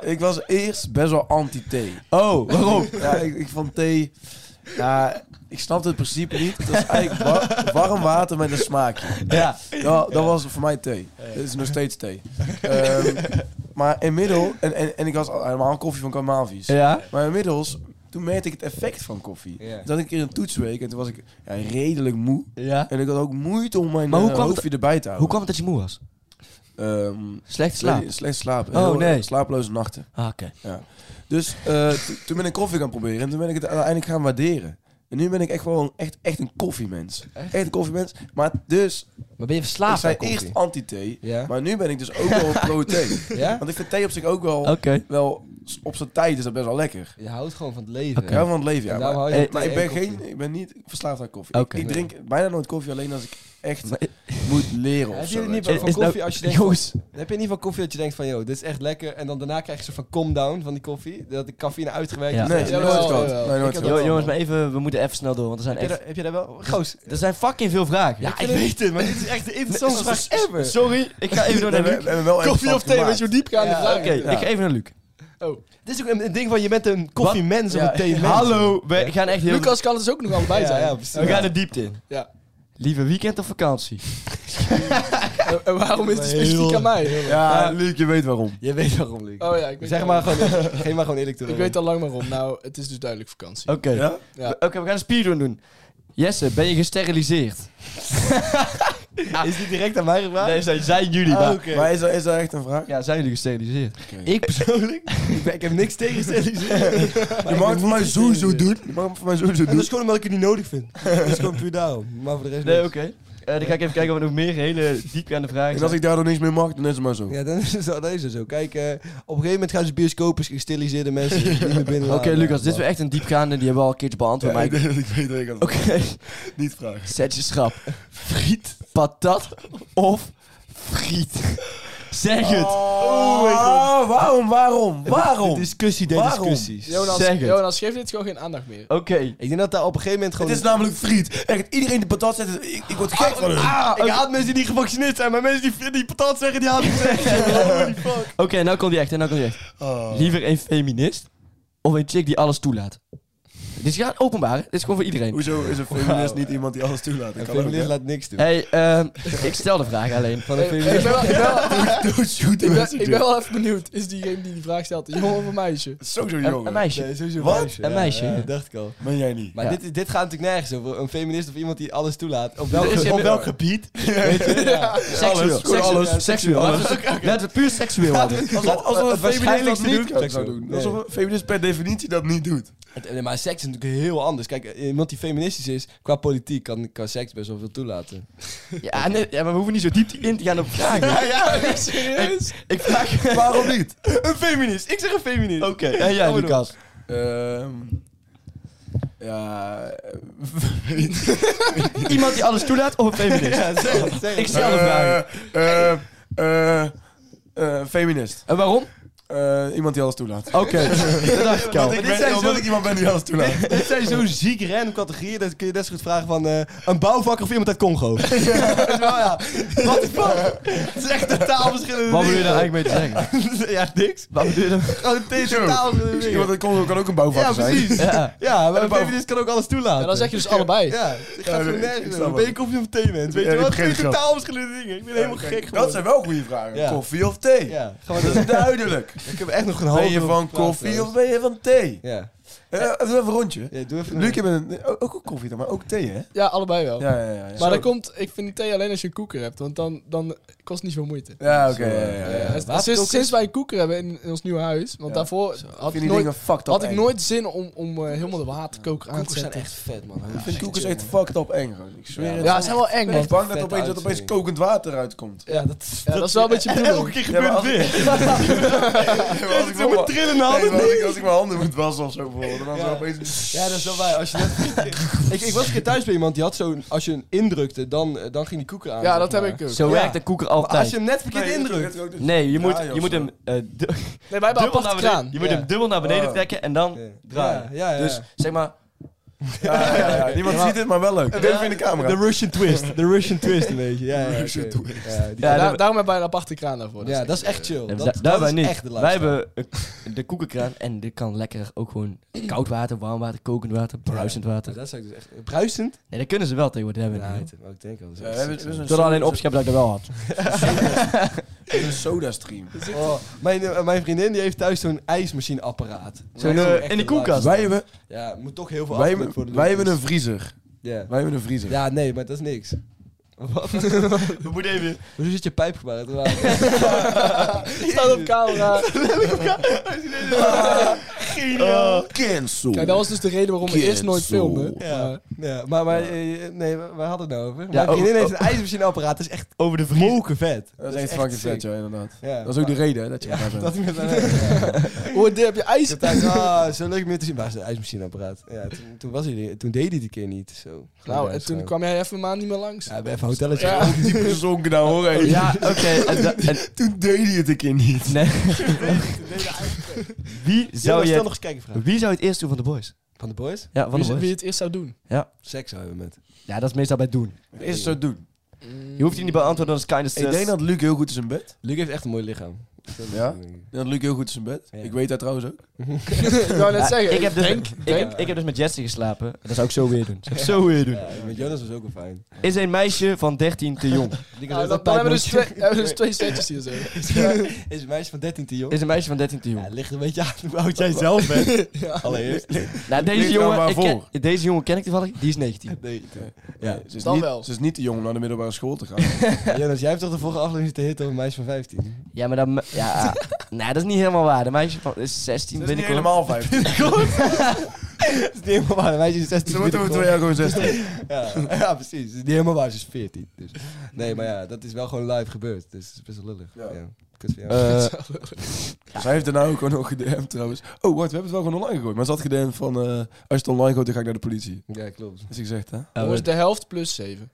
C: Ik was eerst best wel anti-thee.
D: Oh, waarom?
C: Ja, ik, ik vond thee... Ja, ik snapte het principe niet. Het was eigenlijk wa- warm water met een smaakje.
D: Ja,
C: Dat, dat was voor mij thee. Het is nog steeds thee. Ehm, maar inmiddels... En, en, en ik was al helemaal een koffie van Kamalvies.
D: ja.
C: Maar inmiddels... Toen merkte ik het effect van koffie.
B: Ja.
C: Toen had ik een keer een toetsweek en toen was ik ja, redelijk moe.
D: ja.
C: En ik had ook moeite om mijn
D: Maar hoe
C: eh,
D: kwam het-
C: hoofdje erbij te
D: Hoe
C: houden.
D: kwam het dat je moe was?
C: Ehm,
D: Slecht slaap.
C: Nee, slecht slapen.
D: Oh,
C: Heel,
D: nee.
C: eh, Slapeloze nachten.
D: Ah, oké.
C: Dus eh, t- toen ben ik koffie gaan proberen en toen ben ik het uiteindelijk gaan waarderen. En nu ben ik echt gewoon echt, echt een koffiemens. Echt een koffiemens. Maar dus,
D: Maar ben
C: ik
D: je verslaafd
C: zei
D: aan
C: eerst
D: koffie?
C: anti-thee,
B: Ja?
C: maar nu ben ik dus ook wel pro-thee.
B: Ja?
C: Want ik vind thee op zich ook wel,
D: Oké.
C: wel s- op zijn tijd is dat best wel lekker.
B: Je houdt gewoon van het leven.
C: Ik hou van het leven, ja.
B: En daarom
C: Maar,
B: hou je
C: eh,
B: van
C: maar
B: thee
C: ik, ben
B: en
C: geen,
B: koffie.
C: ik ben niet verslaafd aan koffie. Ik-
D: Oké.
C: Ik, drink bijna nooit koffie alleen als ik echt moet leren of
B: Heb
C: zo.
B: je het
C: weet
B: niet
C: je
D: Is-
B: van
D: is
B: koffie
D: nou-
B: als je denkt...
D: Jongens.
B: van- heb je niet van koffie dat je denkt van... joh, dit is echt lekker. En dan daarna krijg je een soort van calm-down van die koffie. Dat de cafeïne uitgewerkt
D: Ja.
B: is.
C: wel. Nee,
B: Heb je
E: Jawel,
C: nooit gehad.
E: jawel.
C: Nee,
B: Ik
C: nooit
B: heb
C: gehad.
D: Jo-
B: wel,
D: jongens,
B: man.
D: maar even, we moeten even snel door, want er zijn
B: dat-
D: echt...
B: Heb je dat wel? Goos.
D: Er zijn fucking veel vragen.
B: Ja, ik weet het, maar dit is echt de interessantste vraag ever.
D: Sorry, ik ga even door naar
C: We- we
D: Luc.
C: hebben wel echt
E: Koffie
C: wat
E: of thee,
C: gemaakt.
E: weet je hoe diep gaan
B: Ja,
E: die vragen?
D: Oké, ik ga even naar Luc.
B: (laughs) Dit is ook een, een ding van je bent een koffiemens of een theemens.
D: Hallo, we gaan echt heel...
E: Lucas kan het dus ook nog allebei
B: Ja,
E: zijn.
B: ja, precies.
D: we gaan de diepte in.
E: Ja.
D: Lieve weekend of vakantie?
E: En, en waarom is het specifiek aan mij?
C: Ja, Luc, je weet waarom.
B: Je weet waarom, Luc.
E: Oh ja, ik weet
B: Zeg
E: al-
B: maar gewoon, (laughs) geef maar gewoon eerlijk toe.
E: Ik weet al lang waarom. Nou, het is dus duidelijk vakantie.
D: (laughs) Oké.
C: Ja?
E: Ja.
D: Oké, we gaan een speedrun doen. Jesse, ben je gesteriliseerd?
B: Is die direct aan mij gevraagd?
D: Nee, zijn, zijn jullie
B: Ah,
D: maar.
B: oké.
C: Maar is dat, is dat echt een vraag?
D: Ja, zijn jullie gesteriliseerd?
B: Ik persoonlijk? ik, ben- ik heb niks tegen steriliseren.
C: je mag het voor mij sowieso doen. Je mag het voor mij sowieso
B: En dat
C: doen.
B: is gewoon omdat ik het niet nodig vind. Dat is gewoon puur daarom. Maar voor de rest
D: (laughs) Nee, oké.
B: niks.
D: Eh, dan ga ik even kijken of er nog meer hele diepgaande vragen
C: En als
D: zijn.
C: ik daardoor niks meer mag, dan is het maar zo.
B: Ja, dan is het zo. Dan is het zo. Kijk, eh, op een gegeven moment gaan ze bioscopen gesteriliseerde mensen niet meer
D: (laughs)
B: binnen.
D: Oké, Lucas, dit is wel echt een diepgaande. Die hebben we al een keertje beantwoord.
C: Ja,
D: maar
C: ik
D: ik-
C: denk dat ik weet dat ik het
D: Oké,
C: niet vraag.
D: zet je schrap. Friet, patat of friet? Zeg het.
C: Ah, waarom, waarom,
B: De
C: waarom?
B: discussie der
C: Waarom?
B: discussies.
E: Jonas,
D: Zeg het.
E: Jonas, geef dit gewoon geen aandacht meer.
D: Oké.
B: Ik denk dat daar op een gegeven moment
C: Het
B: gewoon...
C: is namelijk friet. Echt, iedereen die patat zet, ik, ik word gek van hem.
B: Ah, ik haat mensen die gevaccineerd zijn, maar mensen die, die patat zeggen, die haat ik
D: Oké, nou komt die echt, hè, nou komt die echt. Liever een feminist of een chick die alles toelaat? Dit is ja, openbaar, hè? dit is gewoon voor iedereen.
C: Hoezo is een feminist niet iemand die alles toelaat? Ik
B: Een
C: kan ook,
B: feminist
C: hè?
B: laat niks doen.
D: Hey, ehm, ik stel de vraag alleen.
B: Van een
E: Ik-
B: feminist.
E: ik, ben wel, ik, ben
B: (laughs)
E: wel,
C: Don't shoot the
E: ik, ben,
C: messenger.
E: ik ben wel even benieuwd. Is diegene die die vraag stelt een jongen of een meisje?
C: Sowieso
D: Een, een
C: jongen.
D: meisje.
B: Nee, sowieso
C: Wat?
D: Een
B: Ja,
D: meisje.
B: ja, dat dacht ik al.
C: Ben jij niet?
B: Maar
D: Ja.
B: dit, is- dit gaat natuurlijk nergens over. Een feminist of iemand die alles toelaat. Op welk,
D: Er is geen-
B: op welk gebied? Weet je? Ja.
D: Seksueel.
C: Alles,
D: Seksueel.
C: alles,
D: Seksueel. Seksueel. Laten we puur seksueel houden.
C: Alsof, alsof een
B: Het
C: feminist dat
B: waarschijnlijkste
C: niet
B: doet,
C: zou
B: zou ik
C: doen.
B: doen.
C: Alsof een feminist per definitie dat niet (laughs) doet.
B: Het- nee, Maar seks is natuurlijk heel anders. Kijk, eh, iemand die feministisch is, qua politiek, kan, kan seks best wel veel toelaten.
D: Ja, nee, ja, maar we hoeven niet zo diep in te gaan op vragen.
E: Serieus?
D: Ik vraag...
C: Waarom niet?
D: een feminist. Ik zeg een feminist. Oké. En jij,
C: Kom maar door.
D: Lucas?
C: Ehm ja, eh, (laughs) weet niet.
D: Iemand die alles toelaat of een feminist?
B: zeg, (laughs) zeg.
D: Ik stel de vraag.
C: Eh, eh, eh, eh, feminist.
D: En waarom?
C: Eh, iemand die alles toelaat.
D: Oké. (laughs) Dat dacht ik al.
C: Want ik
B: dit zijn
C: ben, omdat
B: zo-
C: ik iemand ben die alles toelaat.
B: (laughs) Dit zijn zo'n ziek random categorieën, dat kun je net zo goed vragen van eh, een bouwvakker of iemand uit Congo. (laughs) Dat is wel, ja. Wat de fuck? Het is echt totaal verschillende
D: Wat bedoel je
B: dingen.
D: daar eigenlijk mee te zeggen?
B: (laughs) Ja, niks.
D: (laughs) Wat bedoel je daar-
B: Gewoon tegen
C: Zo.
B: totaal verschillende
C: Misschien, want
B: dingen.
C: dat kon, kan ook een bouwvakker
B: Ja,
C: zijn. (laughs)
B: precies.
D: Ja.
B: Ja, maar
C: En
B: een
C: de bouw-
B: feminist kan ook alles toelaten.
E: En dan zeg je dus allebei.
B: Ja, ik
C: Ja,
B: ga
C: nee,
B: gewoon
C: ik
B: nergens
C: snap
B: over. Ben je koffie of thee, mens? Weet
C: Ja,
B: je
C: ik
B: wat?
C: begrijp
B: Twee
C: het wel.
B: totaal verschillende dingen. Ik ben helemaal
C: Kijk,
B: gek
C: dat
B: geworden.
C: zijn wel goede vragen.
B: Ja.
C: Koffie of thee?
B: Ja, gaan we
C: Dat is (laughs)
B: dat
C: duidelijk.
B: Ik heb echt nog (laughs) een half
C: Ben je van koffie of ben je van thee?
B: Ja.
C: Eh, doe even een rondje.
B: ja, doe even
C: Luc, je bent een- ook, ook koffie dan, maar ook thee, hè?
E: Ja, allebei wel.
C: Ja, ja, ja. ja.
E: Maar dat komt, ik vind die thee alleen als je een koeker hebt, want dan, dan kost het niet veel moeite.
C: Ja, oké. ja, ja, ja,
E: Eh,
C: ja.
E: sinds-
B: waterkoker?
E: sinds, wij een koeker hebben in, in ons nieuwe huis, want
C: Ja.
E: daarvoor had
C: Vind
E: ik
C: die
E: nooit,
C: dingen fucked up
E: had ik
C: eng.
E: nooit zin om, om eh, helemaal de waterkoker aan te zetten.
B: echt vet, man.
C: Ik vind koekjes echt fucked up eng, gewoon. Ik zweer het.
E: Ja, ze zijn wel eng,
C: Ik ben
E: man.
C: echt bang dat
B: Vette
C: opeens, dat opeens
B: uitzending.
C: kokend water uitkomt.
B: Ja, dat is...
E: Ja, dat is wel een beetje bedoeld.
B: Elke keer
C: Ja, maar
B: gebeurt het
C: als- (laughs)
B: weer.
C: Ja, maar (laughs) als ik wel-
B: Zo met trillende
C: Nee,
B: handen.
C: maar als ik- als ik mijn handen moet wassen of zo bijvoorbeeld, dan is het
B: Ja.
C: opeens...
B: Ja, dat is wel waar. Als je net... ik, ik was een keer thuis bij iemand die had zo'n... Als je hem indrukte, dan, eh, dan ging die koeker aan.
E: Ja,
B: zeg
E: dat heb
B: maar.
E: ik ook.
D: Zo
B: Ja.
D: werkt de koeker
B: Maar als je
D: altijd.
B: hem net verkeerd indrukt...
D: Nee, je moet,
C: Draaien
D: je moet
C: of zo.
D: hem eh, du-
E: Nee, wij hebben
D: dubbel
E: apart
D: naar
E: kraan.
D: beneden, je moet
B: Ja.
D: hem dubbel naar beneden
C: Oh.
D: trekken en dan
B: Ja,
D: draaien.
B: ja, ja.
D: Dus zeg maar,
C: Ja, ja,
D: (laughs)
C: ja. Niemand ziet het, maar wel leuk. Ik even in de camera.
B: De Russian twist. De Russian twist een beetje. Ja, ja,
C: Russian
B: oké.
C: twist.
B: Ja, die-
D: Ja,
E: Ja, daar-
D: dat-
E: daarom hebben wij een aparte kraan daarvoor.
B: ja, dat is echt chill.
D: Nee,
B: Dat,
D: da- daar
B: dat
D: wij
B: is
D: niet.
B: echt de
D: wij
B: lifestyle.
D: hebben eh, de koekenkraan en dit kan lekker ook gewoon koud water, warm water, kokend water, bruisend water.
B: Dat zou ik dus echt... Bruisend?
D: Nee, dat kunnen ze wel tegenwoordig hebben.
B: Ja,
D: Ja,
B: ik denk- ik denk wel. dat is
C: Ja,
B: echt
C: we hebben-
B: sick,
C: we
B: man.
C: zijn
D: Tot alleen
C: zo-
D: opschep dat ik dat wel (laughs) had.
C: zo- Een soda (laughs) stream.
B: Oh, mijn, eh, mijn vriendin die heeft thuis zo'n ijsmachineapparaat.
D: Zo'n,
B: Dat is
D: eh,
B: echt
D: in de
B: een
D: koelkast.
B: lifestyle.
C: Wij hebben,
B: Ja, moet toch heel veel
C: wij,
B: afdruk voor de
C: hebben- wij hebben een
B: Lucas.
C: vriezer.
B: Ja.
C: Wij hebben een vriezer.
B: Ja, nee, maar dat is (laughs) niks. Wat?
D: We moeten even...
B: Hoezo zit je pijp gebaar? (laughs)
E: staat op camera.
C: Ja. Eh, Cancel.
E: Kijk, dat was dus de reden waarom we eerst nooit
C: Cancel.
E: filmden.
B: Ja.
E: Maar-
B: ja, maar, maar eh, nee, waar waar hadden we het nou over?
D: Ja,
B: Mijn vriendin
D: oh,
B: heeft een ijsmachineapparaat, dat is echt
D: Over de vries.
B: moken vet.
C: Dat is echt fucking vet,
B: sick.
C: ja, inderdaad.
B: Ja.
C: Dat is ook de reden hè, dat je daar bent.
B: Dat ik met haar ja.
E: Hoor, dit heb je ijs.
B: Ik dacht, ah, zo leuk om je te zien. Waar is de ijsmachineapparaat? Ja, toen, toen, was hij, er- toen deed hij het een keer niet. Zo.
E: Nou, en
B: en
E: toen kwam jij even een maand niet meer langs.
B: Ja, we hebben even een hotelletje.
E: Ja.
B: gevonden.
C: diep gezonken nou hoor. hé.
D: Ja, oké. en da- en-
C: Toen deed hij het een keer niet.
D: nee. (laughs) Wie
B: Jonas,
D: zou
B: stel
D: je...
B: nog eens kijken vraag.
D: Wie zou het eerst doen van de boys?
B: Van de boys?
D: Ja, van
E: Wie
D: de
E: z- wie
D: boys.
E: het eerst zou doen.
B: Seks hebben we met.
D: Ja, dat is meestal bij het doen.
C: Eerst zo doen.
D: Je hoeft die niet beantwoorden, dat is kind of
C: Ik denk dat Luc heel goed is in bed.
B: Luc heeft echt een mooi lichaam.
C: Ja? Ik denk dat Luc heel goed is in bed.
B: Ja.
C: Ik weet dat trouwens ook.
E: (laughs) Ik wou net zeggen.
D: ik, heb dus,
E: denk,
D: ik,
E: denk-
D: heb, ik heb dus met Jesse geslapen. Dat zou ik zo weer doen. Dat zou ik zo weer doen.
B: Ja, met Jonas was ook wel fijn.
D: Is een meisje van 13 te jong?
B: Lucas
E: Nou,
B: heeft
E: dan,
B: dat
E: dan hebben we dus
B: pijpnootje.
E: twee, hebben we dus twee setjes hier zo.
B: Is een meisje van 13 te jong?
D: Is een meisje van 13 te
B: Ja, het
D: jong?
B: ligt een beetje aan hoe oud jij zelf bent. Allereerst.
D: Nou, deze
C: Ligt er
D: jongen,
C: maar
D: ik ken-
C: voor.
D: deze jongen ken ik toevallig. Die is 19.
B: Nee.
C: Ja, ze is,
E: Dan
C: niet,
E: wel.
C: ze is niet te jong om naar de middelbare school te gaan.
B: Jonas, jij hebt toch de vorige aflevering te hitten over een meisje van
D: (laughs)
B: 15?
D: Ja, maar dan... (laughs) Ja, nee, dat is niet helemaal waar. De meisje van, is 16,
C: Ze is
D: ben
C: niet
D: ik wel.
C: helemaal vijf.
B: Het is niet helemaal waar. Een meisje is 16.
C: Ze wordt over twee
B: binnengekomen.
C: jaar gewoon 16.
B: Ja, (laughs) ja, precies. Het is niet helemaal waar. Ze is 14. Dus. Nee, maar ja, dat is wel gewoon live gebeurd. Dus het is best wel lullig.
C: Ja.
B: Ja. Kut voor jou.
C: Eh, Zij heeft daarna ook gewoon nog gedm'd trouwens. Oh, wat, we hebben het wel gewoon online gegooid. Maar ze had gedm'd van, eh, als je het online gooit, dan ga ik naar de politie.
B: ja, klopt.
C: Is ik gezegd, hè?
D: Ja,
E: Jongens, de helft plus 7.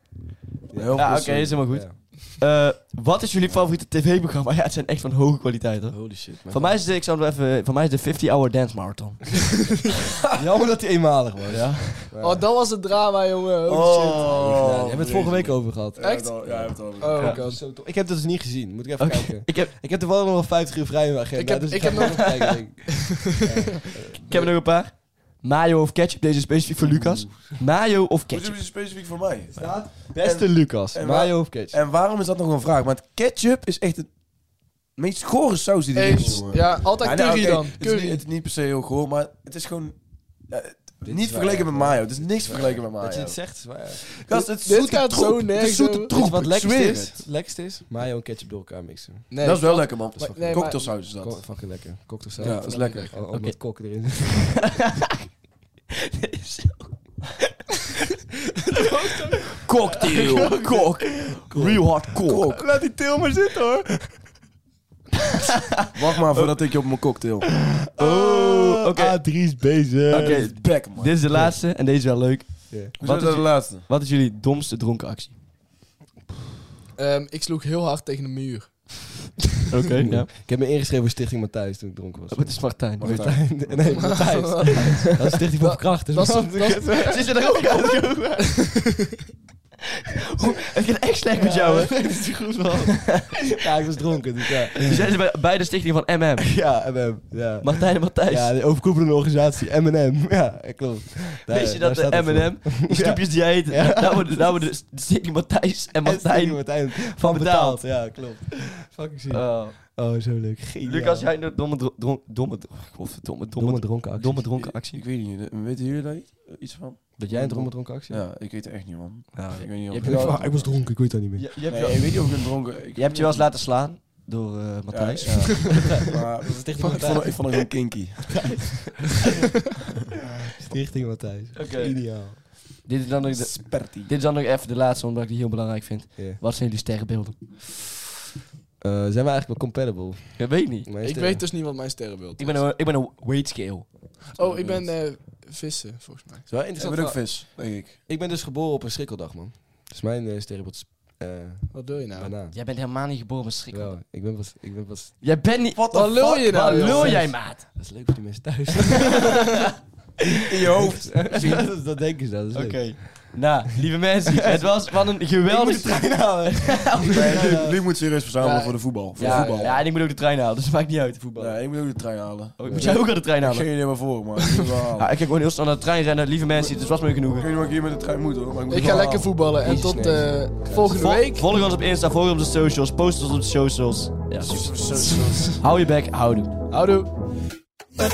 C: Heel
D: oké,
C: veel
D: is helemaal goed.
B: Ja.
D: Eh, wat is jullie favoriete tv-programma? Ja, het zijn echt van hoge kwaliteit, hoor.
C: Holy shit.
D: Van mij is het, ik zou het wel even, van mij is de 50 Hour Dance Marathon.
B: (laughs) Jammer dat hij eenmalig was. Ja.
E: Oh, dat was het drama, jongen. Oh, shit.
B: Ja, daar hebben we het vorige week over gehad.
C: Ja, echt? Ja, je hebt het al.
E: Oh
D: Ja.
E: my god.
B: Zo tof. Ik heb dat dus niet gezien. Moet ik even kijken.
D: Ik heb,
B: (laughs) Ik heb toevallig nog wel 50 uur vrij in mijn agenda.
E: Ik heb-
B: dus
E: ik
B: ga
E: heb
B: nog even kijken. denk ik.
D: ik heb er nog een paar. Mayo of ketchup, deze is specifiek voor Lucas. Mayo of
C: Dit
D: ketchup?
C: is specifiek voor mij.
B: Beste Lucas.
C: en
B: Mayo of Ketchup?
C: En waarom is dat nog een vraag? Want ketchup is echt het meest gore saus die er is.
E: Eens.
C: jongen.
E: Ja, altijd
C: Ja, nou,
E: curry
C: oké,
E: dan.
C: Het is,
E: Curry.
C: niet, het is niet per se heel goor, maar het is gewoon... ja, het-
B: is
C: niet
B: waar,
C: vergeleken
B: ja.
C: met mayo. Het is niks vergeleken met mayo.
B: Dat je het zegt. is waar, ja.
C: Gast, het
E: Dit
C: zoete
E: gaat
C: troep.
E: zo
C: Het
E: nergens
C: is zoete
E: over.
C: troep.
B: Weet je wat
C: ik
B: het lekkerste
C: zweer
B: is?
C: het.
B: Het lekkerste is mayo en ketchup door elkaar mixen.
E: Nee.
C: dat is wel lekker, man.
B: Dat is fucking,
E: nee, maar-
C: Cocktailsaus is dat.
B: ko- fucking lekker. Cocktailsaus.
C: Ja, dat is lekker.
B: Al, al
D: Oké.
B: met kokken erin.
D: Cocktail, kok, real hard kok.
C: Laat die til maar zitten, hoor. Wacht maar voordat ik je op mijn cocktail. Oké,
D: Oh, oké.
B: is bezig.
C: back, man.
D: Dit is de laatste en deze is wel leuk.
C: Wat is
D: is-
C: de laatste?
D: Wat is jullie domste dronken actie?
E: Ehm, ik sloeg heel hard tegen de muur.
D: Oké, ja.
B: Ik heb me ingeschreven voor Stichting Matthijs toen ik dronken was.
D: Wat is Martijn?
B: Martijn. (laughs)
E: (laughs)
B: Nee, Matthijs. Dat is Stichting voor Verkrachters.
E: Dat is,
B: man.
E: dat is-
D: Zit er ook aan? (laughs) Het gaat echt slecht met jou, hè?
B: Ja, ik was dronken. Dus ja.
D: Die zijn (laughs) ze bij, bij de stichting van MM.
B: (laughs) Ja, MM. Ja.
D: Martijn en Matthijs.
B: Ja, de overkoepelende organisatie, M&M. (laughs) Ja, klopt. Daar-
D: Weet je
B: daar
D: dat
B: staat
D: de
B: het voor.
D: M&M, die snoepjes die jij eet,
B: Ja.
D: daar worden, daar worden de stichting Matthijs en
B: En Stijn
D: (laughs) Martijn...
B: Martijn
D: betaald.
B: van betaald. Ja, klopt. (laughs) Fucking ziek.
D: Oh.
B: Oh, zo leuk. Geniaal.
D: Lucas, jij een domme, dro- dron- domme, dro- godverdomme, domme,
B: Domme
D: domme,
B: dronken actie.
D: domme dronken actie.
C: Ik weet niet. eh, Weten jullie daar iets- iets van?
B: Dat jij een domme dronken actie?
C: Ja, ik weet het echt niet, man.
D: Ja,
C: Ik weet niet of...
D: Je
B: Ik,
D: wel-
B: ah, ik was dronken, ik weet dat niet meer. (laughs)
D: Je, je, hebt,
C: Nee,
D: je,
C: ik weet niet of ik een dronken... Ik,
D: je hebt je wel eens laten slaan door eh,
C: Ja,
D: Matthijs.
C: ja.
D: (laughs)
C: Maar ik
B: Stichting
C: vond- ik vond- ik vond het een kinky.
B: Stichting Matthijs.
D: Oké.
B: Ideaal.
D: Dit, is dan nog de-
C: Sperti.
D: dit is dan nog even de laatste, omdat ik die heel belangrijk vind.
B: Ja.
D: Wat zijn jullie sterrenbeelden?
B: Eh, zijn we eigenlijk wel compatible?
D: Ik weet niet.
B: Mijn
E: ik
B: sterren.
E: weet dus niet wat mijn sterrenbeeld
D: Ik
E: is.
D: ben een, ik ben een weight scale.
E: Oh, ik ben eh, vissen, volgens mij.
B: Is wel
C: Ik
B: interessant.
C: ben ook
B: verhaal.
C: vis, denk ik.
B: ik ben dus geboren op een schrikkeldag, man. Dus mijn eh sterrenbeeld is eh
E: Wat wil je nou?
B: banaan.
D: Jij bent helemaal niet geboren met schrik.
B: Wel, ik ben pas... Ik ben pas...
D: Jij bent niet... Wat
E: Wat lul je nou,
D: lul
E: jongens?
D: jij, maat?
B: Dat is leuk voor die mensen thuis. (laughs)
C: In je hoofd.
B: dat, dat denken ze, dat is
D: Oké.
B: leuk.
D: Nou, lieve (laughs) mensen, het was van een geweldig...
C: Nee, nu moet serieus verzamelen
E: Ja.
C: voor de voetbal. Voor
D: ja,
C: voetbal.
D: ja, en ik moet ook de trein halen, dus het maakt niet uit, de voetbal.
C: Nee, ik moet ook de trein halen.
D: Oh, moet jij ook aan de trein
C: Ik
D: halen?
C: geen idee waarvoor, maar ik moet hem wel halen.
D: (laughs) Ja, ik ga gewoon heel snel naar de trein rennen. Lieve mensen, het was me
C: Ik
D: genoegen.
C: weet niet wat ik hier met de trein moet hoor, maar ik moet
E: Ik
C: hem
E: ga
C: wel
E: lekker
C: halen.
E: voetballen en
B: Jezus,
E: tot
B: nee.
E: eh, volgende
D: Vol-
E: week.
D: volg ons op Insta, volg ons op de socials, post ons op de socials. Ja. Hou je bek, houden.
E: Houdoe.